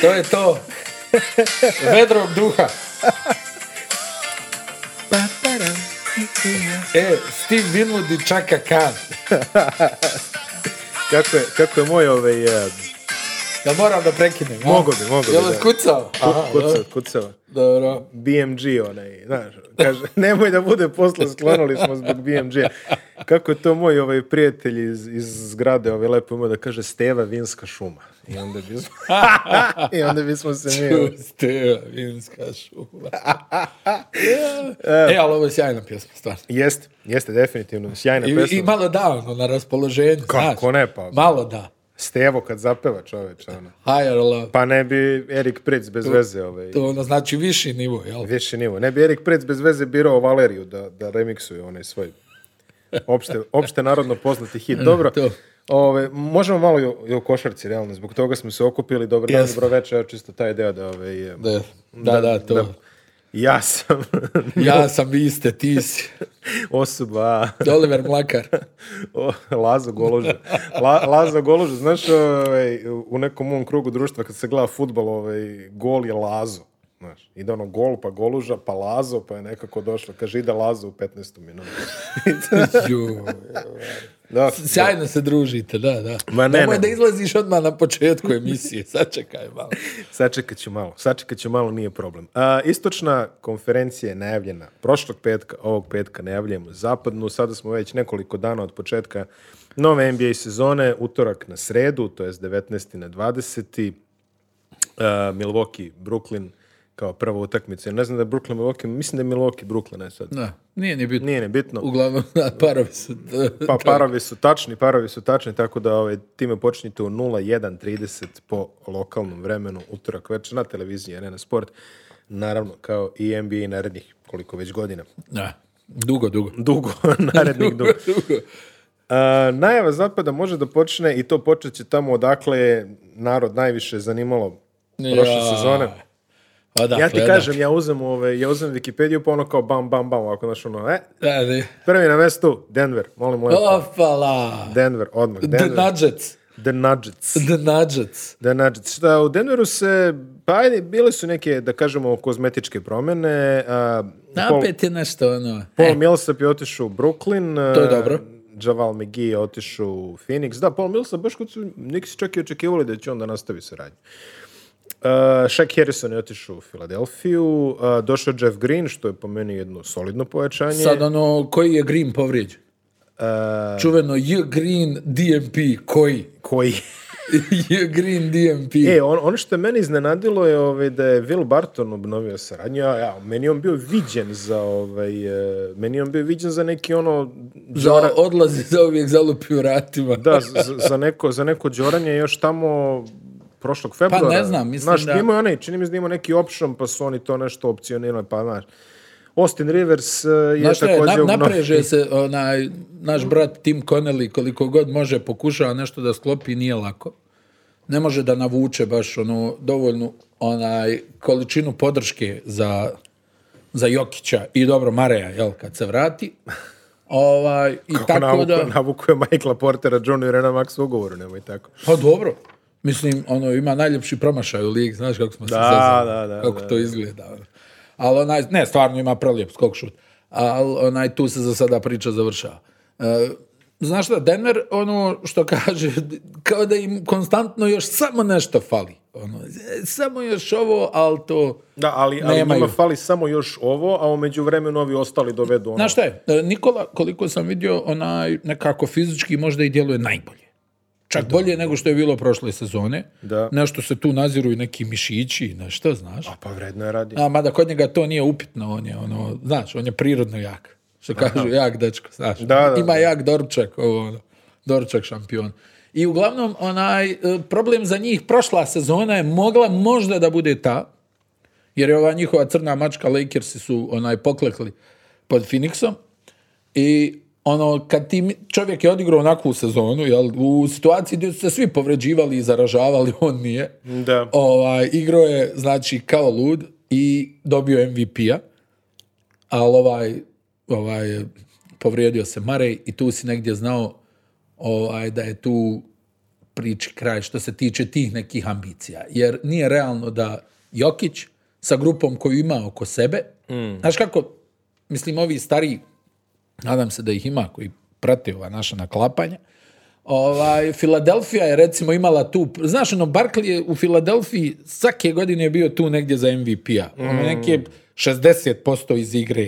To je to. Vedrog duha. E, Steve Winwood i Chaka Khan. Kako je, kako je moj ovaj... eh, Jel moram da prekinem? a? Mogo bi, mogo bi, Jel da. otkucao? Aha, kucao, dobro. kucao. Dobro. BMG onaj, znaš, kaže, nemoj da bude posla, sklonili smo zbog BMG-a. Kako je to moj ovaj prijatelj iz, iz zgrade, ovaj lepo imao da kaže Steva Vinska šuma. I onda bismo, i onda bismo se mi... ovaj, Steva, vinska šuma. e, ali ovo je sjajna pjesma, stvarno. Jeste, jeste, definitivno, sjajna I, pesma. I malo da, ono, na raspoloženju, Kako znaš. ne, pa- Malo da. Stevo kad zapeva čoveče, ono. Higher love. Pa ne bi Erik Prec bez veze, ovaj, To ono znači viši nivo, jel? više nivo. Ne bi Erik Prec bez veze birao Valeriju da, da remiksuje onaj svoj opšte, opšte narodno poznati hit. Dobro, to. ove, možemo malo i o, i o košarci, realno. Zbog toga smo se okupili. Dobar dan, Jesmo. dobro večer. Evo, Čisto taj deo da... Ove, je- Da, da, da, to. Ja sam Ja sam vi ste, ti si. osoba... Oliver Mlakar. O, Lazo Goloža. La, Lazo Goloža, znaš, ovaj, u nekom mom krugu društva kad se gleda futbol, ovaj, gol je Lazo. Znaš, ide ono gol, pa Goluža, pa Lazo, pa je nekako došlo. Kaže, ide Lazo u 15. minutu. Ju. Da, Sjajno se družite, da, da. Ma ne, Nemoj ne. da izlaziš odmah na početku emisije, sačekaj malo. sačekat ću malo. Sačekat ću malo, nije problem. A, istočna konferencija je najavljena prošlog petka, ovog petka najavljujemo zapadnu. Sada smo već nekoliko dana od početka nove NBA sezone, utorak na sredu, to je 19. na 20. Uh, Milwaukee, Brooklyn kao prva utakmica. Ja Ne znam da je Brooklyn, Milwaukee, mislim da je Milwaukee, Brooklyn je sad. Da, nije ni bitno. Nije ne bitno. Uglavnom, da, parovi su... da, Pa parovi su tačni, parovi su tačni, tako da ovaj, time počinjete u 01.30 po lokalnom vremenu, utorak večer na televiziji Arena Sport, naravno kao i NBA narednih koliko već godina. Da. Dugo, dugo. Dugo, narednih dugo. Dugo. A, najava zapada može da počne i to počet će tamo odakle je narod najviše zanimalo prošle Ja. sezone. Pa da, Ja ti gledam. kažem, ja uzem, ove, ja uzem Wikipediju pa ono kao bam, bam, bam, ovako znaš ono, e, Da, ne. prvi na mestu, Denver, molim lepo. Opala! Denver, odmah, Oh. The Denver, Nudgets. The Nuggets. The Nudgets. Da, znači, šta u Denveru se, pa ajde, bile su neke, da kažemo, kozmetičke promjene. A, Paul, Opet je nešto ono... Paul Millsap je otišao u Brooklyn. To je a, dobro. Javal McGee je otišao u Phoenix. Da, Paul Millsap, baš kod su, neki su čak i očekivali da će on da nastavi saradnju. Uh, Shaq Harrison je otišao u Filadelfiju, a, došao je Jeff Green, što je po meni jedno solidno pojačanje. Sad ono, koji je Green povrijeđen? A, Čuveno J Green DMP, koji? koji J Green DMP. E, on, ono što je mene iznenadilo je ovaj, da je Will Barton obnovio saradnju, ja, ja, meni je on bio viđen za ovaj, e, meni je on bio viđen za neki ono za, odlazi za uvijek zalupi u ratima. da, za, za neko, za neko đoranje još tamo prošlog februara. Pa znam, mislim znaš, da- imao je onaj, čini mi se da imao neki option, pa su oni to nešto opcionirali, pa znaš. Austin Rivers e, je Znaš šta je, također na- obnovio- napreže se onaj, naš brat Tim Connelly koliko god može pokušava nešto da sklopi, nije lako. Ne može da navuče baš onu dovoljnu onaj količinu podrške za, za Jokića i dobro Mareja, jel, kad se vrati. Ovaj, i Kako tako navuku, da... navuku je Michaela Portera, Juniora na max ugovoru, nemoj tako. Pa dobro. Mislim, ono, ima najljepši promašaj u ligi, znaš kako smo se Da, zezali, da, da, kako da, to izgleda. ono. Ali onaj, ne, stvarno ima prelijep skok šut. Ali onaj, tu se za sada priča završava. E, znaš šta, Denver, ono što kaže, kao da im konstantno još samo nešto fali. Ono, e, samo još ovo, ali to... Da, ali, ali Nemaju. njima fali samo još ovo, a umeđu vremenu ovi ostali dovedu ono. Znaš šta je, e, Nikola, koliko sam vidio, onaj, nekako fizički možda i djeluje najbolje. Čak bolje nego što je bilo prošle sezone. Da. Nešto se tu naziru i neki mišići i nešto, znaš. Pa vredno je radi. A, mada kod njega to nije upitno, on je, ono, znaš, on je prirodno jak. Što kažu, jak dečko, znaš. Da, da, Ima da. jak doručak, ovo, ono, doručak šampion. I uglavnom, onaj, e, problem za njih prošla sezona je mogla možda da bude ta, jer je ova njihova crna mačka, Lakersi su onaj poklekli pod Phoenixom i ono, kad ti mi- čovjek je odigrao onakvu sezonu, jel, u situaciji gdje su se svi povređivali i zaražavali, on nije. Da. Ovaj, igrao je, znači, kao lud i dobio MVP-a, ali ovaj, ovaj, povrijedio se Marej i tu si negdje znao ovaj, da je tu priči kraj što se tiče tih nekih ambicija. Jer nije realno da Jokić sa grupom koju ima oko sebe, znaš kako, mislim, ovi stariji, nadam se da ih ima koji prate ova naša naklapanja, ovaj, Filadelfija je recimo imala tu, znaš ono, Barkley je u Filadelfiji svake godine je bio tu negdje za MVP-a. Mm. Ono neke 60% iz igre,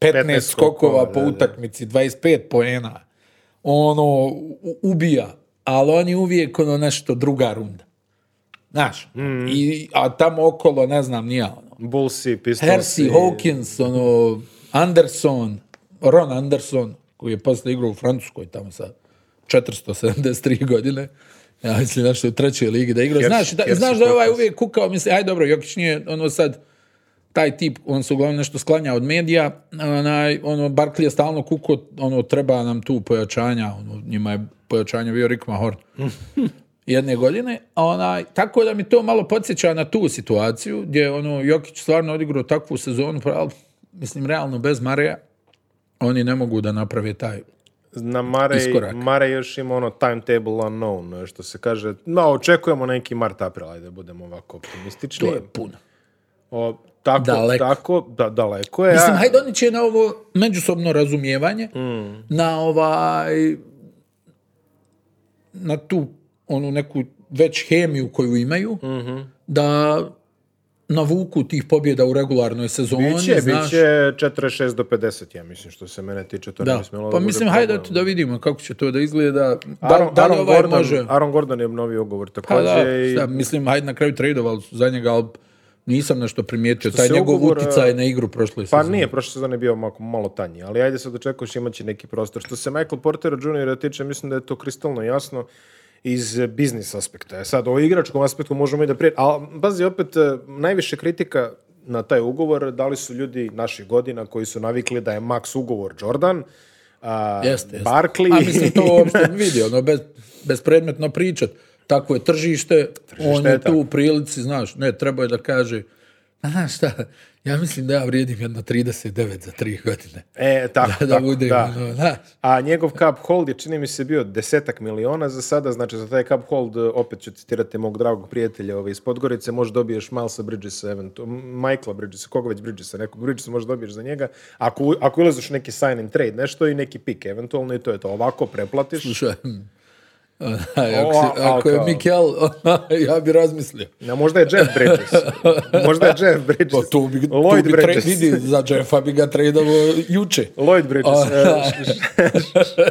15, 15 skokova skokova, po da, da. utakmici, 25 poena. Ono, u- ubija. Ali on je uvijek ono nešto druga runda. Znaš, Mm. i, a tamo okolo, ne znam, nije ono. Bullsi, Pistolsi. Hersey, Hawkins, ono, Anderson, Ron Anderson, koji je posle igrao u Francuskoj tamo sa 473 godine. Ja mislim nešto u trećoj ligi da igra. Hersi- Znaš, da, Hersi znaš da je ovaj Hawkins. uvijek kukao, misli, aj dobro, Jokić nije ono sad taj tip, on se uglavnom nešto sklanja od medija, onaj, ono, Barkley je stalno kuko, ono, treba nam tu pojačanja, ono, njima je pojačanje bio Rick Mahorn jedne godine, a onaj, tako da mi to malo podsjeća na tu situaciju, gdje ono, Jokić stvarno odigrao takvu sezonu, pa, al, mislim, realno, bez Marija, oni ne mogu da naprave taj Na Mare, Iskorak. Mare još ima ono timetable unknown, e, što se kaže. No, očekujemo neki mart april, ajde, da budemo ovako optimistični. to je puno. O, tako, Daleko. tako, da, daleko je. Mislim, a- hajde oni će na ovo međusobno razumijevanje, Mm. na ovaj, na tu onu neku već hemiju koju imaju, Mhm. da navuku tih pobjeda u regularnoj sezoni. Biće, znaš. biće 46 do 50, ja mislim, što se mene tiče, to ne Da. bi smjelo Pa da bude mislim, hajde problem. da vidimo kako će to da izgleda. Da, Aaron, da li Aaron ovaj Gordon, može... Aaron Gordon je obnovio ugovor Pa također. da, i šta, mislim, hajde na kraju tradeovali su za njega, ali nisam nešto primijetio. Taj se njegov ugovora- uticaj na igru prošle Pa sezone. nije, prošle sezone je bio malo, malo tanji, ali ajde sad očekuješ imat će neki prostor. Što se Michael Portera Jr. tiče, mislim da je to kristalno jasno iz eh, biznis aspekta. E Sad, o igračkom aspektu možemo i da prije... Ali, bazi, opet, eh, najviše kritika na taj ugovor dali su ljudi naših godina koji su navikli da je max ugovor Jordan, a, Jeste, jeste. Barkley... A mislim, to uopšte ne vidi, ono, bez, bespredmetno pričat. Takvo je tržište, on je, je tu tako. u prilici, znaš, ne, treba je da kaže, "A, znaš šta, ja mislim da ja vrijedim jedno 39 za 3 godine. E, tako, Da, da tako, bude, da. ono, znaš. A njegov cup hold je, čini mi se, bio desetak miliona za sada, znači za taj cup hold, e, opet ću citirati mog dragog prijatelja ove, iz Podgorice, možda dobiješ Milesa Bridgesa, eventu, Michaela Bridgesa, koga već Bridgesa, nekog Bridgesa možda dobiješ za njega, ako, u- ako ulaziš u neki sign and trade, nešto i neki pik, eventualno i to je to, ovako preplatiš, Slušaj, hm. onaj, ako, O, si- ako je alko. Mikel, onaj, ja bi razmislio. a možda je Jeff Bridges, možda je Jeff Bridges, Pa tu bi, tu Lloyd bi tra- Bridges. vidi, za Jeffa bi ga tradeovo juče. Lloyd Bridges, O, e,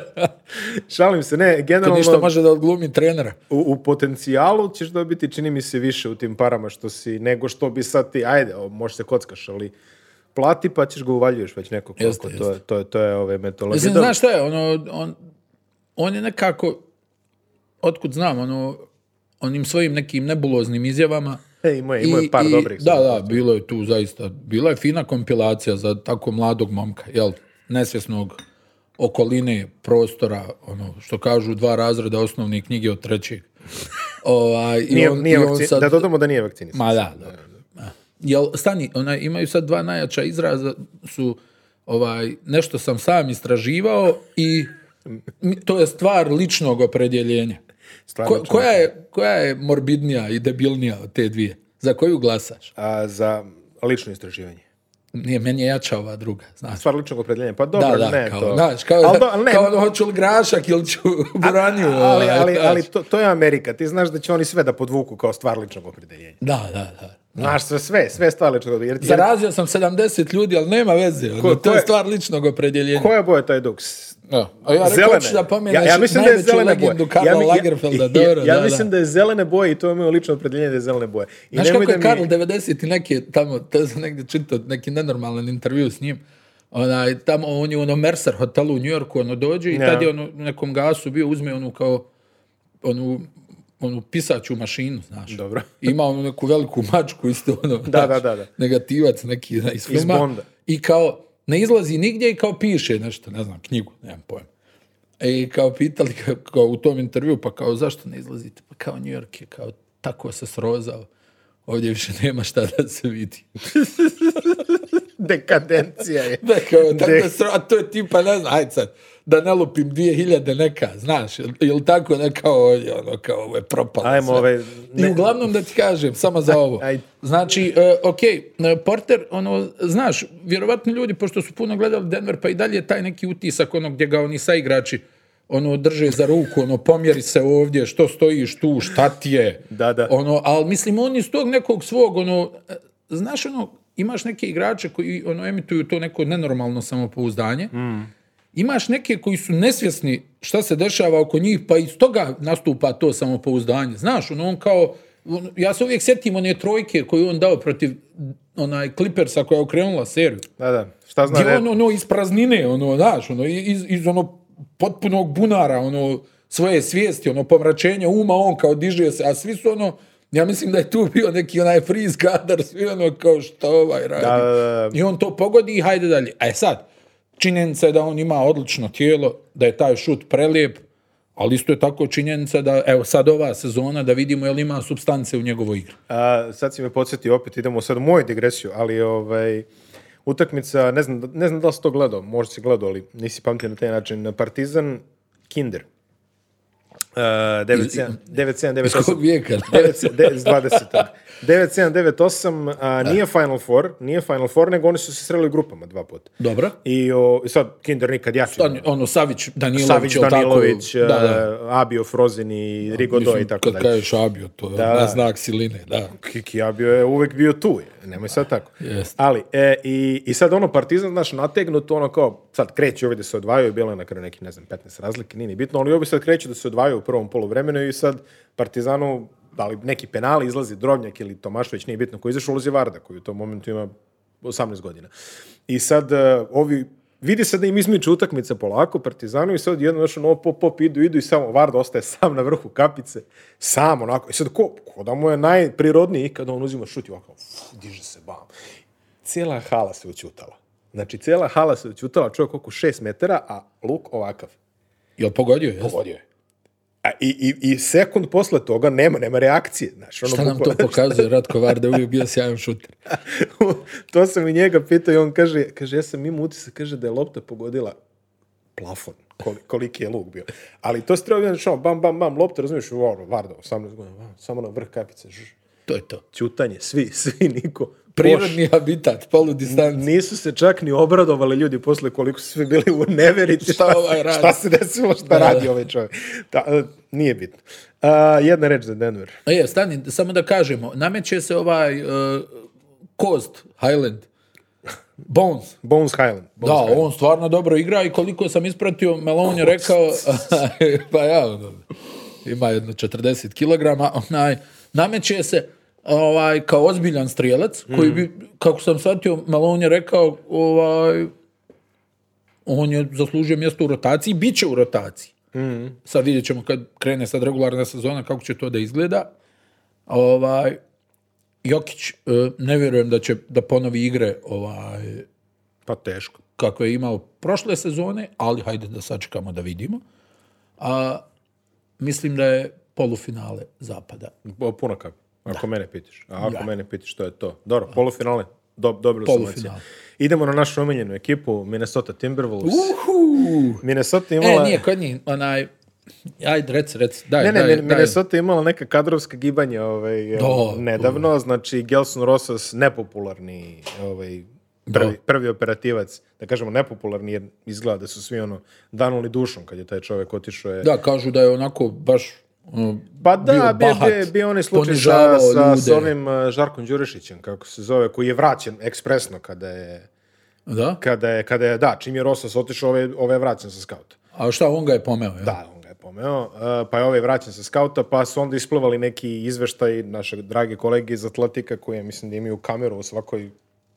šalim se, ne, Kad generalno... ništa može da odglumi trenera. u, u potencijalu ćeš dobiti, čini mi se, više u tim parama što si, nego što bi sad ti, ajde, o, možeš se kockaš, ali plati pa ćeš ga uvaljuješ već nekog Jeste, koliko. To, je- to, je- to je ove metodologije. Mislim, Dobro, znaš šta je, ono, on, on je nekako, otkud znam, ono, onim svojim nekim nebuloznim izjavama. e, imao je, imao je par dobrih. Da, stvari. da, bilo je tu zaista, bila je fina kompilacija za tako mladog momka, jel, nesvjesnog okoline prostora, ono, što kažu dva razreda osnovne knjige od trećeg. Ovaj, i Nije, on- nije i on vakci- sad- Da dodamo da nije vakcinisan. Ma da, da. Ma. Jel, stani, ona, imaju sad dva najjača izraza, su ovaj, nešto sam sam istraživao i mi- to je stvar ličnog opredjeljenja. Stvarno znači, Ko- čudno. koja, je, koja je morbidnija i debilnija od te dvije? Za koju glasaš? A, za lično istraživanje. Nije, meni je jača ova druga, znaš. Stvar ličnog opredjeljenja. Pa dobro, Da, da, ne kao, to. znaš, kao, ali, do- ali ne, kao ono, hoću li grašak ili ću buraniju. ali, ovaj, ali, znaš. ali to, to je Amerika. Ti znaš da će oni sve da podvuku kao stvar ličnog opredjeljenja. Da, da, da. Znaš, sve, sve, sve stvar ličnog opredjeljenja. Jer- Zarazio sam 70 ljudi, ali nema veze. ono, Ko- to ko je je- stvar ličnog opredjeljenja. Koja boja je taj duks? Da. A Pa ja rekao zelene. hoću da ja, pomenaš ja mislim da je najveću zelene boje. legendu Karla ja, mi- ja- Lagerfelda, dobro, ja, ja da, mislim da. da je zelene boje i to je moje lično opredeljenje da je zelene boje. I Znaš nemoj kako je da mi- Karl 90 i neke tamo, to sam negdje čitao, neki nenormalan intervju s njim, onaj, tamo on je u onom Mercer hotelu u Njorku, ono dođe i Ja. tad je ono, u nekom gasu bio, uzme onu kao, onu, onu pisaću mašinu, znaš. Dobro. Ima onu neku veliku mačku isto, ono, Da, znaš, da, da, da. negativac neki znaš, iz filma. Bonda. I kao, ne izlazi nigdje i kao piše nešto, ne znam, knjigu, nemam pojma. E, I kao pitali ga kao u tom intervju, pa kao zašto ne izlazite? Pa kao New York je kao tako se srozao. Ovdje više nema šta da se vidi. Dekadencija je. Da, kao, tako Dek- da sro- a to je tipa, ne znam, ajde sad, da ne lupim 2000 neka, znaš, ili ili tako neka, ovo je ono, kao, ovo je propalo Ajmo sve. ove- ne- I uglavnom da ti kažem, samo za ovo. ajde. Znači, e, okej, e, Porter, ono, znaš, vjerovatno ljudi, pošto su puno gledali Denver, pa i dalje je taj neki utisak, ono, gdje ga oni saigrači, ono, drže za ruku, ono, pomjeri se ovdje, što stojiš tu, šta ti je. Da, da. Ono, ali mislim, on iz tog nekog svog, ono, e, znaš, ono, imaš neke igrače koji, ono, emituju to neko nenormalno samopouzdanje. Mhm. Imaš neke koji su nesvjesni šta se dešava oko njih, pa iz toga nastupa to samopouzdanje. Znaš, ono, on kao, on- ja se uvijek sjetim one trojke koju je on dao protiv onaj Clippersa koja je okrenula seriju. Da, da. Šta zna Gdje red? on, ono, iz praznine, ono, znaš, ono, iz, iz ono potpunog bunara, ono, svoje svijesti, ono, pomračenje uma, on kao diže se, a svi su, ono, ja mislim da je tu bio neki onaj freeze kadar, svi ono, kao što ovaj radi. Da, da, da. I on to pogodi i hajde dalje. E sad, činjenica je da on ima odlično tijelo, da je taj šut prelijep, ali isto je tako činjenica da, evo sad ova sezona, da vidimo je li ima substance u njegovoj igri. A, sad si me podsjetio opet, idemo sad u moju digresiju, ali ovaj, utakmica, ne znam, ne znam da li si to gledao, možda si gledao, ali nisi pamtio na taj način. Partizan Kinder. Uh, 9798. Iz kog vijeka? 9798. 9798, a, nije Final Four, nije Final Four, nego oni su se sreli u grupama dva puta. Dobro. I o, i sad Kinder nikad jači. On- Ono, Savić, Danilović, Savić, jel tako? Danilović, da, da. Abio Frozin i Rigodo i Mislim, tako kad dalje. kažeš abio, to je na znak siline, da. Kiki Abio je uvek bio tu, je. nemoj sad tako. Jest. Ali, e, i, i sad ono Partizan, znaš, nategnut, ono kao, sad kreće ovdje da se odvajaju, bilo je na kraju neki, ne znam, 15 razlike, nije ni bitno, ali ovi sad kreću da se odvajaju u prvom poluvremenu i sad Partizanu, da li neki penali izlazi Drobnjak ili Tomašević, nije bitno, koji izašao ulazi Varda, koji u tom momentu ima 18 godina. I sad e, ovi Vidi se da im izmiče utakmica polako Partizanu i sad jedno znaš, ono, pop, pop, idu, idu i samo Varda ostaje sam na vrhu kapice, sam onako. I sad ko, ko da mu je najprirodniji kada on uzima šut i ovako, uf, diže se, bam. Cijela hala se učutala. Znači, cijela hala se učutala, čovjek oko 6 metara, a luk ovakav. Jel pogodio, jes? Pogodio je. A i, i, I sekund posle toga nema, nema reakcije. Znači, ono, Šta nam to bukvalno- pokazuje, Ratko Varda je uvijek bio sjajan šuter. to sam i njega pitao i on kaže, kaže, ja sam imao utisak, kaže da je lopta pogodila plafon, koli- koliki je luk bio. Ali to se treba vidjeti, znači, ono, bam, bam, bam, lopta, razumiješ, ono, Varda, 18 godina, bam, samo na vrh kapice, ž, To je to. ćutanje, svi, svi, niko. Koš. Prirodni habitat, polu distanci. Nisu se čak ni obradovali ljudi posle koliko su svi bili u neverici. Šta se- ovaj radi? Šta se desilo, šta radi ovaj čovjek. Ta, e, nije bitno. A, jedna reč za Denver. A je, E, stani, samo da kažemo, nameće se ovaj e, Kost, Highland, Bones. Bones Highland. Bones Da, Highland. on stvarno dobro igra i koliko sam ispratio, Melon je rekao, pa ja, ono, ima jedno 40 kilograma, onaj, nameće se ovaj, kao ozbiljan strijelac, koji bi, kako sam shvatio, Melon je rekao, ovaj, on je zaslužio mjesto u rotaciji, bit će u rotaciji. Sad vidjet ćemo kad krene sad regularna sezona, kako će to da izgleda. Ovaj, Jokić, eh, ne vjerujem da će da ponovi igre ovaj, Pa teško. kakve je imao prošle sezone, ali hajde da sačekamo da vidimo. A, mislim da je polufinale zapada. Bo- Puno kap. Ako mene pitiš. A ako mene pitiš, to je to. Dobro, polufinale. Dob, dobro sam Polufinale. ocjenjen. Idemo na našu omiljenu ekipu, Minnesota Timberwolves. Uhu! Minnesota Uh! E, imala... nije, kod njih, onaj, ajde, rec, rec, daj, Ne, ne, daj, Min- daj. Minnesota je imala neka kadrovska gibanja ovaj, eh, Da, nedavno, znači Gelson Rosas nepopularni ovaj, prvi, Da. prvi operativac, da kažemo nepopularni jer izgleda da su svi ono danuli dušom kad je taj čovjek otišao je Da, kažu da je onako baš ono, Pa da, bio, bio, bahat, bio, onaj slučaj sa, ponižavao sa, ljude. sa onim eh, Žarkom Đurišićem, kako se zove, koji je vraćen ekspresno kada je, Da? kada je, kada je da, čim je Rosas otišao, ove, ove je vraćen sa skauta. A šta, on ga je pomeo, jel? Da, on ga je pomeo, eh, pa je ovaj vraćen sa skauta, pa su onda isplivali neki izveštaj našeg drage kolege iz Atletika, koji mislim da imaju kameru u svakoj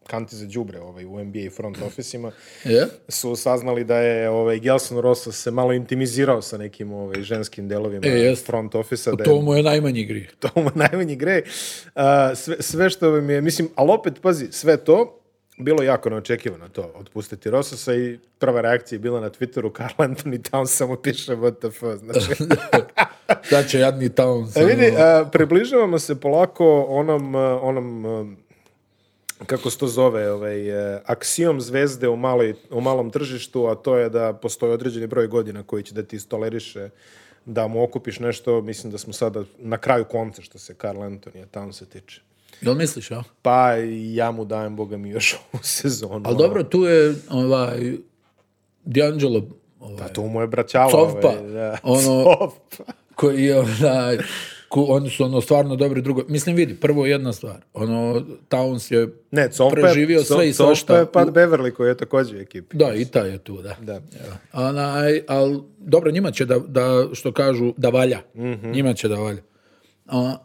kanti za đubre ovaj, u NBA front officima, Je? su saznali da je ovaj, Gelson Rosas se malo intimizirao sa nekim ovaj, ženskim delovima E, jest. front office da je To mu je najmanji grije. to mu najmanji grej. A, sve, sve što vam je, mislim, ali opet, pazi, sve to, bilo je jako neočekivano to, otpustiti Rosasa i prva reakcija je bila na Twitteru, Carl Anthony Towns samo piše WTF, znači, Da će jadni Towns. E, vidi, ono, a, približavamo se polako onom, a, onom a, kako se to zove, ovaj, e, aksiom zvezde u, maloj, u malom tržištu, a to je da postoji određeni broj godina koji će da ti istoleriše da mu okupiš nešto, mislim da smo sada na kraju konca što se Karl Antonija Townsa tiče. Jel misliš, a? Pa ja mu dajem, boga mi, još ovu sezonu. Ali dobro, tu je ovaj, D'Angelo ovaj, Pa to mu je braćalo. Covpa. ovaj, da. Ono- Covpa. koji je onaj, ko- oni su ono stvarno dobri drugo. Mislim, vidi, prvo jedna stvar. Ono, Towns je Ne, Covpa je, preživio sve i Covpa svašta. je Pat Beverly koji je također u ekipi. Da, i ta je tu, da. Da. Onaj, ali dobro, njima će da, da, što kažu, da valja. Mhm. Njima će da valja. A,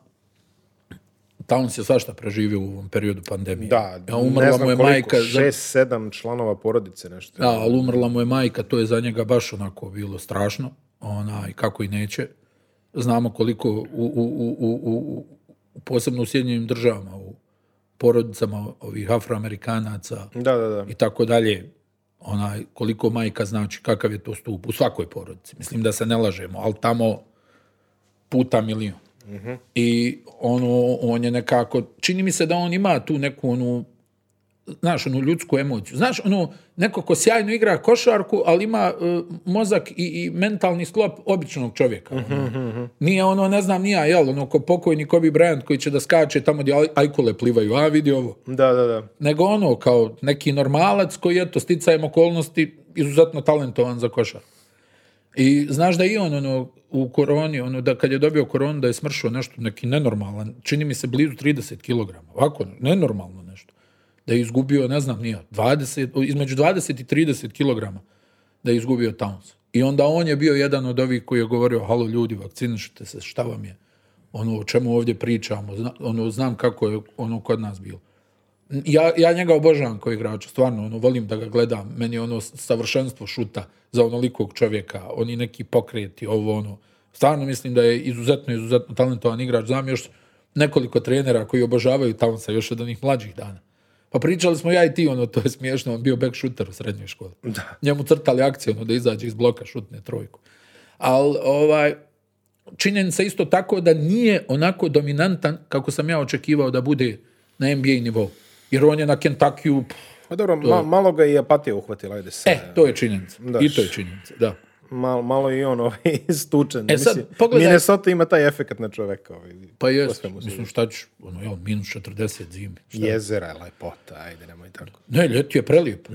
Towns je svašta preživio u ovom periodu pandemije. Da, A umrla ne znam mu je koliko, majka. za- šest, sedam članova porodice nešto. Da, ali umrla mu je majka, to je za njega baš onako bilo strašno, onaj, kako i neće. Znamo koliko u, u, u, u, u- u- posebno u Sjedinjenim državama, u porodicama ovih afroamerikanaca Da, da, da. i tako dalje, onaj, koliko majka znači, kakav je to stup u svakoj porodici. Mislim da se ne lažemo, ali tamo puta milion. I ono, on je nekako, čini mi se da on ima tu neku onu znaš, onu ljudsku emociju. Znaš, ono, neko ko sjajno igra košarku, ali ima e, mozak i, i mentalni sklop običnog čovjeka. ono. Nije ono, ne znam, nija, jel, ono, ko pokojni Kobe Bryant koji će da skače tamo gdje aj- ajkule plivaju, a vidi ovo. Da, da, da. Nego ono, kao neki normalac koji je to sticajem okolnosti izuzetno talentovan za košar. I znaš da i on ono, u koroni, ono, da kad je dobio koronu, da je smršao nešto, neki nenormalan, čini mi se blizu 30 kg, ovako, nenormalno nešto. Da je izgubio, ne znam, nije, 20, između 20 i 30 kg da je izgubio Towns. I onda on je bio jedan od ovih koji je govorio, halo ljudi, vakcinišite se, šta vam je, ono, o čemu ovdje pričamo, Zna- ono, znam kako je ono kod nas bilo. Ja, ja njega obožavam kao igrača, stvarno, ono, volim da ga gledam. Meni je ono savršenstvo šuta za onolikog čovjeka, oni neki pokreti, ovo ono. Stvarno mislim da je izuzetno, izuzetno talentovan igrač. Znam još nekoliko trenera koji obožavaju Townsa još od onih mlađih dana. Pa pričali smo ja i ti, ono, to je smiješno, on bio back shooter u srednjoj školi. Njemu crtali akciju, ono, da izađe iz bloka, šutne trojku. Ali, ovaj, činjenica isto tako da nije onako dominantan kako sam ja očekivao da bude na NBA nivou. Jer on je na Kentakiju, Pa dobro, ma- malo ga je i apatija uhvatila, ajde sad. e, to je činjenica. I to je činjenica, da. Mal- malo je i on ovaj, stučen. E sad, Mislim, pogledaj- Minnesota ima taj efekt na čoveka. Ovaj, Pa po jes, svemu sudu. mislim šta ću, ono, jel, minus 40 zimi. Jezera je lepota, ajde, nemoj tako. Ne, ljeti je prelijepo.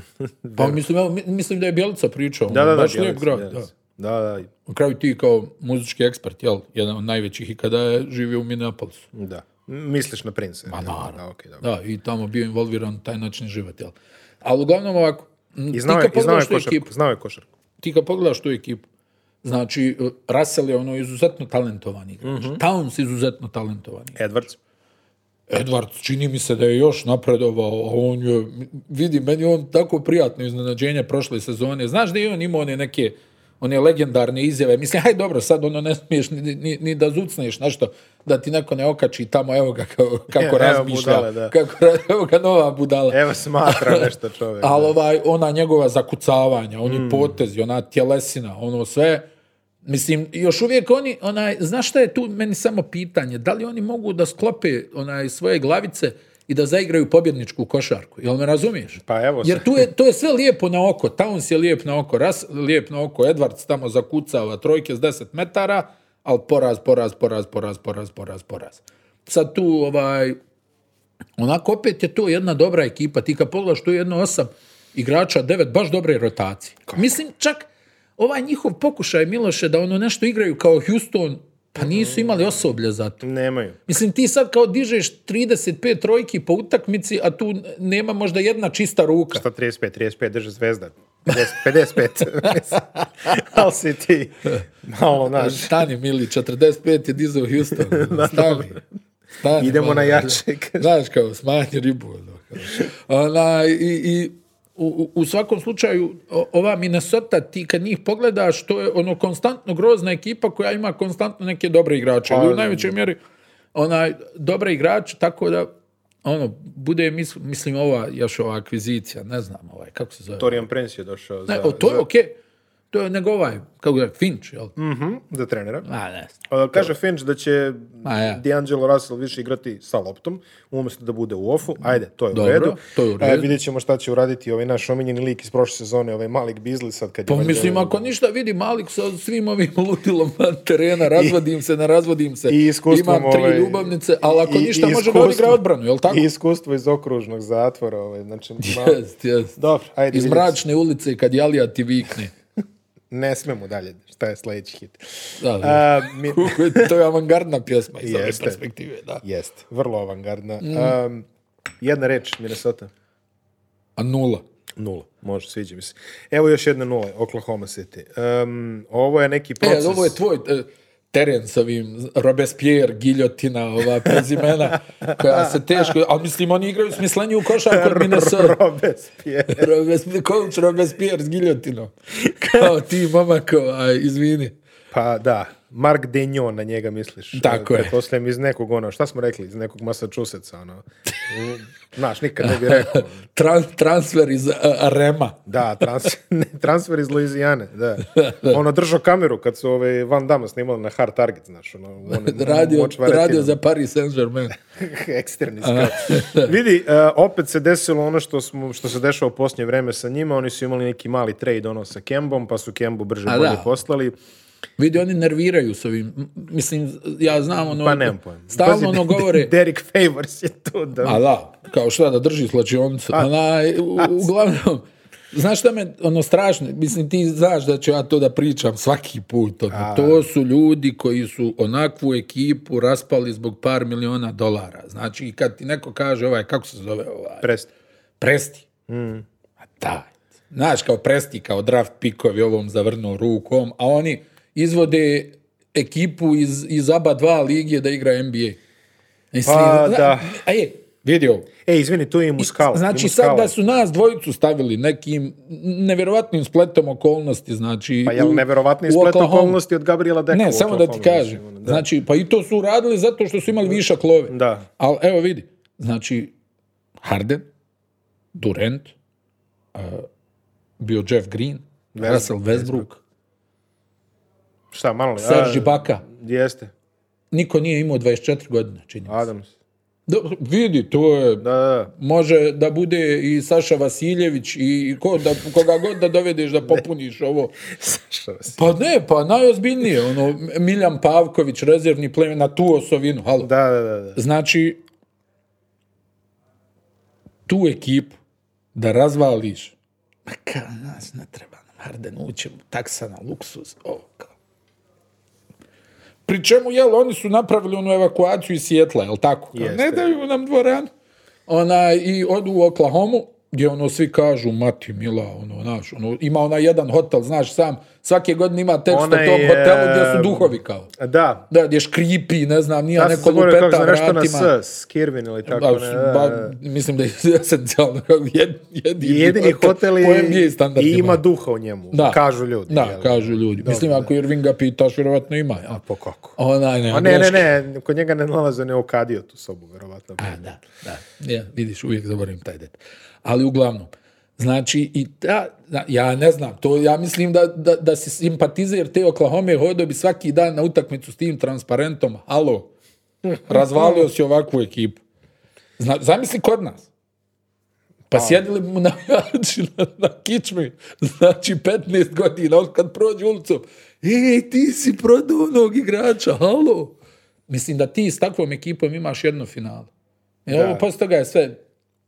Pa mislim, evo, mi- mislim da je Bjelica pričao, ono, Da, da, da. baš lijep Bjelica, grad, Bjelica. da. Da, da, Na kraju ti kao muzički ekspert, jel, jedan od najvećih ikada je živio u Minneapolisu. da. M- Misliš na prince? Ma naravno. Znači, Da, okej, dobro. Da, i tamo bio involviran u taj način život, jel. Ali uglavnom ovako, m, I znao ti je, kad i znao je pogledaš tu ekipu- košarku. Znao je košarku. ti kad pogledaš tu ekipu, znači, Russell je ono izuzetno talentovan igrač. Towns izuzetno talentovan igrač. Edwards. Edwards, čini mi se da je još napredovao, a on je, vidi, meni je on tako prijatno iznenađenje prošle sezone. Znaš da je on imao one neke, one legendarne izjave. Mislim, haj dobro, sad ono ne smiješ ni, ni, ni da zucneš nešto, da ti neko ne okači tamo, evo ga kao, kako Evo razmišlja. budale, da. kako, ra- evo ga nova budala. Evo smatra nešto čovek. Ali ovaj, ona njegova zakucavanja, oni Mm. potezi, ona tjelesina, ono sve, mislim, još uvijek oni, onaj, znaš šta je tu meni samo pitanje, da li oni mogu da sklope onaj, svoje glavice i da zaigraju pobjedničku košarku, jel me razumiješ? Pa evo Jer tu je, to je sve lijepo na oko, Towns je lijep na oko, Ras lijep na oko, Edwards tamo zakucava trojke s 10 metara, ali poraz, poraz, poraz, poraz, poraz, poraz, poraz. Sad tu ovaj, onako opet je to jedna dobra ekipa. Ti kad pogledaš tu je jedno osam igrača, devet, baš dobre rotacije. Mislim, čak ovaj njihov pokušaj, Miloše, da ono nešto igraju kao Houston, pa nisu imali osoblja za to. Nemaju. Mislim, ti sad kao dižeš 35 trojki po utakmici, a tu nema možda jedna čista ruka. Šta 35, 35, drže zvezda. 50, 55. Ali si ti malo, znaš, Stani, mili, 45 je dizao Houston. Stani. Stani Idemo malo. na jače, kaže. Znaš, kao, smanji ribu. ono, kao. Ona, i, i u, u- u svakom slučaju, o- ova Minnesota, ti kad njih pogledaš, to je ono konstantno grozna ekipa koja ima konstantno neke dobre igrače. Pa, Ali u najvećoj mjeri, onaj, dobre igrače, tako da, ono, bude, mis- mislim, ova, još ova akvizicija, ne znam, ovaj, kako se zove. Torijan Prince je došao. Ne, za, o, to je za- okej. To je nego ovaj, kako je, Finch, jel? Mhm, za trenera. Ma, ne znam. A, Pa Kaže Finch da će Ma, ja. D'Angelo Russell više igrati sa loptom, umjesto da bude u ofu. Ajde, to je Dobro, u redu. to je u A, redu. vidjet ćemo šta će uraditi ovaj naš omiljeni lik iz prošle sezone, ovaj Malik Beasley sad kad je... Pa valjda- mislim, ako ništa vidi Malik sa svim ovim ludilom van terena, razvodim se, ne razvodim se, i iskustvom... imam tri ovaj, ljubavnice, ali ako i- i ništa može da iskustvom- odigra odbranu, jel tako? I iskustvo iz okružnog zatvora, ovaj, znači... malo- Jest, jest. Dobro, ajde. Iz vidjet ćemo. mračne ulice kad Jalija ti vikne. Ne smemo dalje, šta je sljedeći hit. Da, da. A, mi, Koliko je- to je avangardna pjesma iz ove Jeste. perspektive, da. jest, vrlo avangardna. Mm. Am, jedna reč, Minnesota. A nula. Nula, može, sviđa mi se. Evo još jedna nula, Oklahoma City. Am, ovo je neki E, proces. ali ovo je tvoj e, teren sa ovim Robespierre, giljotina, ova prezimena koja se teško... Ali mislim, oni igraju smislenju u košarku od Minnesota. Robespierre. Robespierre, coach Robespierre s giljotinom. Kao ti, momak, ovaj, izvini. Pa da, Mark Denjon na njega misliš. Tako je. Pretpostavljam iz nekog ono, šta smo rekli, iz nekog Massachusettsa, ono. Znaš, nikad ne bi rekao. Tran- transfer iz a, Rema. Da, trans- ne, transfer iz Luizijane, da. Ono držao kameru kad su ovaj Van Damme snimali na Hard Target, znaš, ono, one- Radio, močvare radio tine. za Paris Saint-Germain. eksterni scout. Vidi, e, opet se desilo ono što, smo, što se dešava u posljednje vreme sa njima, oni su imali neki mali trade ono sa Kembom, pa su Kembu brže A bolje da. poslali. Vidi, oni nerviraju s ovim. M- Mislim, ja znam ono... Pa nemam pojma. Stalno Pazi, ono De- De- govore... Derek Favors je tu, da. A da, kao šta da drži slačionicu. Onaj, u- uglavnom, znaš šta me, ono strašno, mislim ti znaš da ću ja to da pričam svaki put. ono. to su ljudi koji su onakvu ekipu raspali zbog par miliona dolara. Znači, i kad ti neko kaže ovaj, kako se zove ovaj, Prest. presti. Hmm. A daj. Znaš, kao presti, kao draft pikovi ovom zavrnuo rukom, a oni izvode ekipu iz, iz aba dva ligije da igra NBA. Mislim, Pa, zna- da. A je, vidi ovo. E, izvini, tu je i Muscala. Znači I sad Muscala. da su nas dvojicu stavili nekim nevjerovatnim spletom okolnosti, znači... Pa jel u- nevjerovatni u splet Oklahoma- okolnosti od Gabriela Deka Ne, u samo da Oklahoma, ti kažem. mislim, ono, da. Znači, pa i to su uradili zato što su imali višak love. Da. Ali evo vidi, znači Harden, Durant, eh, bio Jeff Green, Westbrook, Russell Westbrook, Šta, malo? Serge a, Ibaka. Jeste, Niko nije imao 24 godine, čini. mi se. Adams. Dobro, vidi, to je... Da, da, da. Može da bude i Saša Vasiljević i ko, da, koga god da dovedeš da popuniš ovo. Šta vas- Pa ne, pa najozbiljnije, ono, Miljan Pavković, rezervni plemen, na tu osovinu, halo. Da, da, da. da. Znači, tu ekipu da razvališ, ma ka, nas ne treba nam Harden, uće mu taksa na luksuz, ovo kao. Pri čemu, jel, oni su napravili onu evakuaciju iz Sjetla, jel tako? Kao, Jeste. Ne daju nam dvoran. Ona, I odu u Oklahomu, gdje ono svi kažu, mati mila, ono, znaš, ono, ima onaj jedan hotel, znaš, sam, svake godine ima tekst o tom Onaj, hotelu gdje em, su duhovi kao. Da, Da, gdje škripi, ne znam, nije Ja sam neko zaboravio lupeta kako se nešto vratima. na S, Skirvin ili tako. Ba, ne, da, ba, da. mislim da je esencijalno kako jed, jedini, Jedini hotel po je NBA i standardima. ima duha u njemu, Da. kažu ljudi. Da, jel? kažu ljudi. mislim, ako Irvinga pitaš, vjerovatno ima. A Pa kako? Onaj, ne, A ne, ne, greška. ne, kod njega ne nalaze ne okadio tu sobu, verovatno. A, da, da. Ja, vidiš, uvijek zaboravim taj detalj. Ali uglavnom, znači, i ta, da, ja ne znam, to ja mislim da, da, da si simpatizer te Oklahoma hodo bi svaki dan na utakmicu s tim transparentom, halo, razvalio si ovakvu ekipu. Zna, zamisli kod nas. Pa sjedili bi mu na na, na kičmi, znači 15 godina, on kad prođe ulicom, ej, ti si prodao onog igrača, halo. Mislim da ti s takvom ekipom imaš jedno finale. I E, ovo posle toga je sve...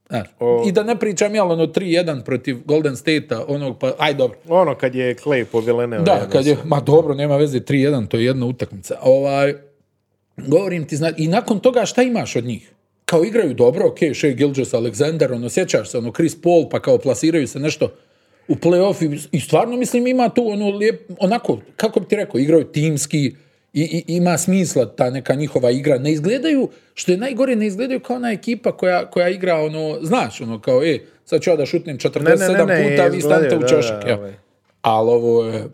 znaš. I da ne pričam, jel, ono 3-1 protiv Golden State-a, onog pa... Aj, dobro. Ono kad je Clay ono. povileneo. Da, jedno. kad je, ma dobro, nema veze, 3-1, to je jedna utakmica. Ovaj, govorim ti, zna, i nakon toga šta imaš od njih? Kao igraju dobro, ok, Shea Gilgis, Alexander, ono, sjećaš se, ono, Chris Paul, pa kao plasiraju se nešto u play-off i, i stvarno, mislim, ima tu, ono, lijep, onako, kako bi ti rekao, igraju timski, i, i- ima smisla ta neka njihova igra. Ne izgledaju, što je najgore, ne izgledaju kao ona ekipa koja, koja igra, ono, znaš, ono, kao, e, sad ću ja da šutnem 47 ne, puta, vi stanite izgledaju, u da, čošak. da, ja. ovaj. Ali ovo je,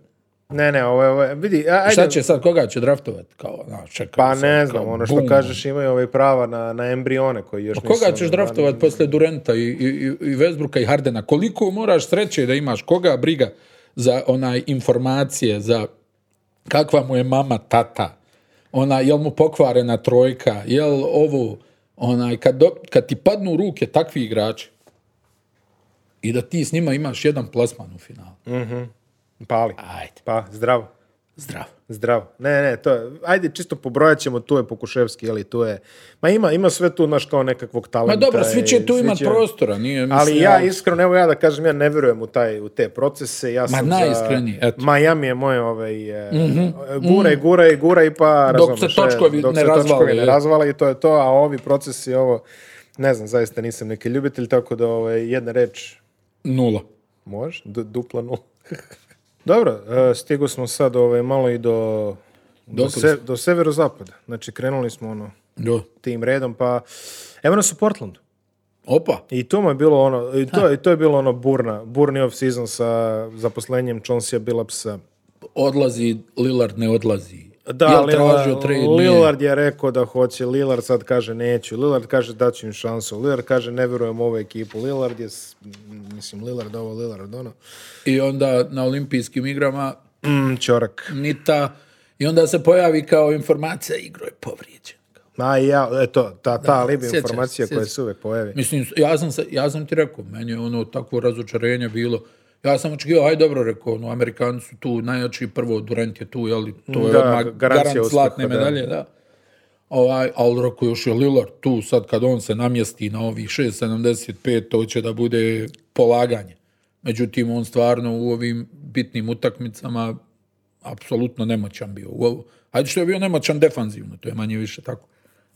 Ne, ne, ovo, je- ovo je- vidi, a- ajde. Šta će sad, koga će draftovati? Kao, znaš, čekaj. Pa sad, kao, ne znam, ono što bum. kažeš imaju ove prava na, na embrione koji još nisu... Koga ćeš ono, draftovati posle Durenta i, i, i Westbrooka i Hardena? Koliko moraš sreće da imaš? Koga briga? za onaj informacije, za kakva mu je mama, tata, ona, jel mu pokvarena trojka, jel ovo, onaj, kad, do- kad ti padnu u ruke takvi igrači i da ti s njima imaš jedan plasman u finalu. ono, Pali. Ajde, Pa, zdravo. zdrav. Zdravo. Ne, ne, to je, ajde čisto pobrojat ćemo, tu je Pokuševski, ali tu je, ma ima, ima sve tu, znaš, kao nekakvog Ma talenta. dobro, svi i će tu imat prostora, nije, mislim, Ali ja iskreno, evo ja da kažem, ja ne vjerujem u, taj, u te procese. Ja sam za- najiskreniji, eto. Mhm. Miami je moje ovaj, e, guraj, guraj, guraj, pa Dok se razumeš, e, točkovi dok ne se razvale, točkovi ne je. razvale i to je to, a ovi procesi, ovo, ne znam, zaista nisam neki ljubitelj, tako da ovaj, jedna reč nula. Može, du- dupla nula. Dobro, e, stigo smo sad ovaj, malo i do, do, Dokle se, do severozapada. Znači, krenuli smo ono, Do. tim redom, pa evo nas u Portlandu. Opa, I to mu je bilo ono, i to, i to je bilo ono burna, burni off-season sa zaposlenjem Chauncea Billupsa. odlazi, Lillard ne odlazi. Da, Jel Lillard- tražio trade? Nije. Lillard je rekao da hoće, Lillard sad kaže neću, Lillard kaže daću im šansu, Lillard kaže ne vjerujem u ovu ekipu, Lillard je, s- m, mislim, Lillard ovo, Lillard ono, I onda na olimpijskim igrama mm, čorak. nita i onda se pojavi kao informacija igro je povrijeđen. Ma i ja, eto, ta, ta alibi sjećaš se, informacija koja sjećaš se. se uvek pojavi. Mislim, ja sam, se- ja sam ti rekao, meni je ono takvo razočarenje bilo. Ja sam očekivao, aj dobro rekao, ono, Amerikanci su tu najjači, prvo Durant je tu, jel, to je Da, odmah garancija garant uspjeha, zlatne da. medalje, da. Ovaj, ali rekao, još je Lillard tu, sad kad on se namjesti na ovih 6.75, to će da bude polaganje. Međutim, on stvarno u ovim bitnim utakmicama apsolutno nemoćan bio. U ovo. Ajde što je bio nemoćan defanzivno, to je manje više tako.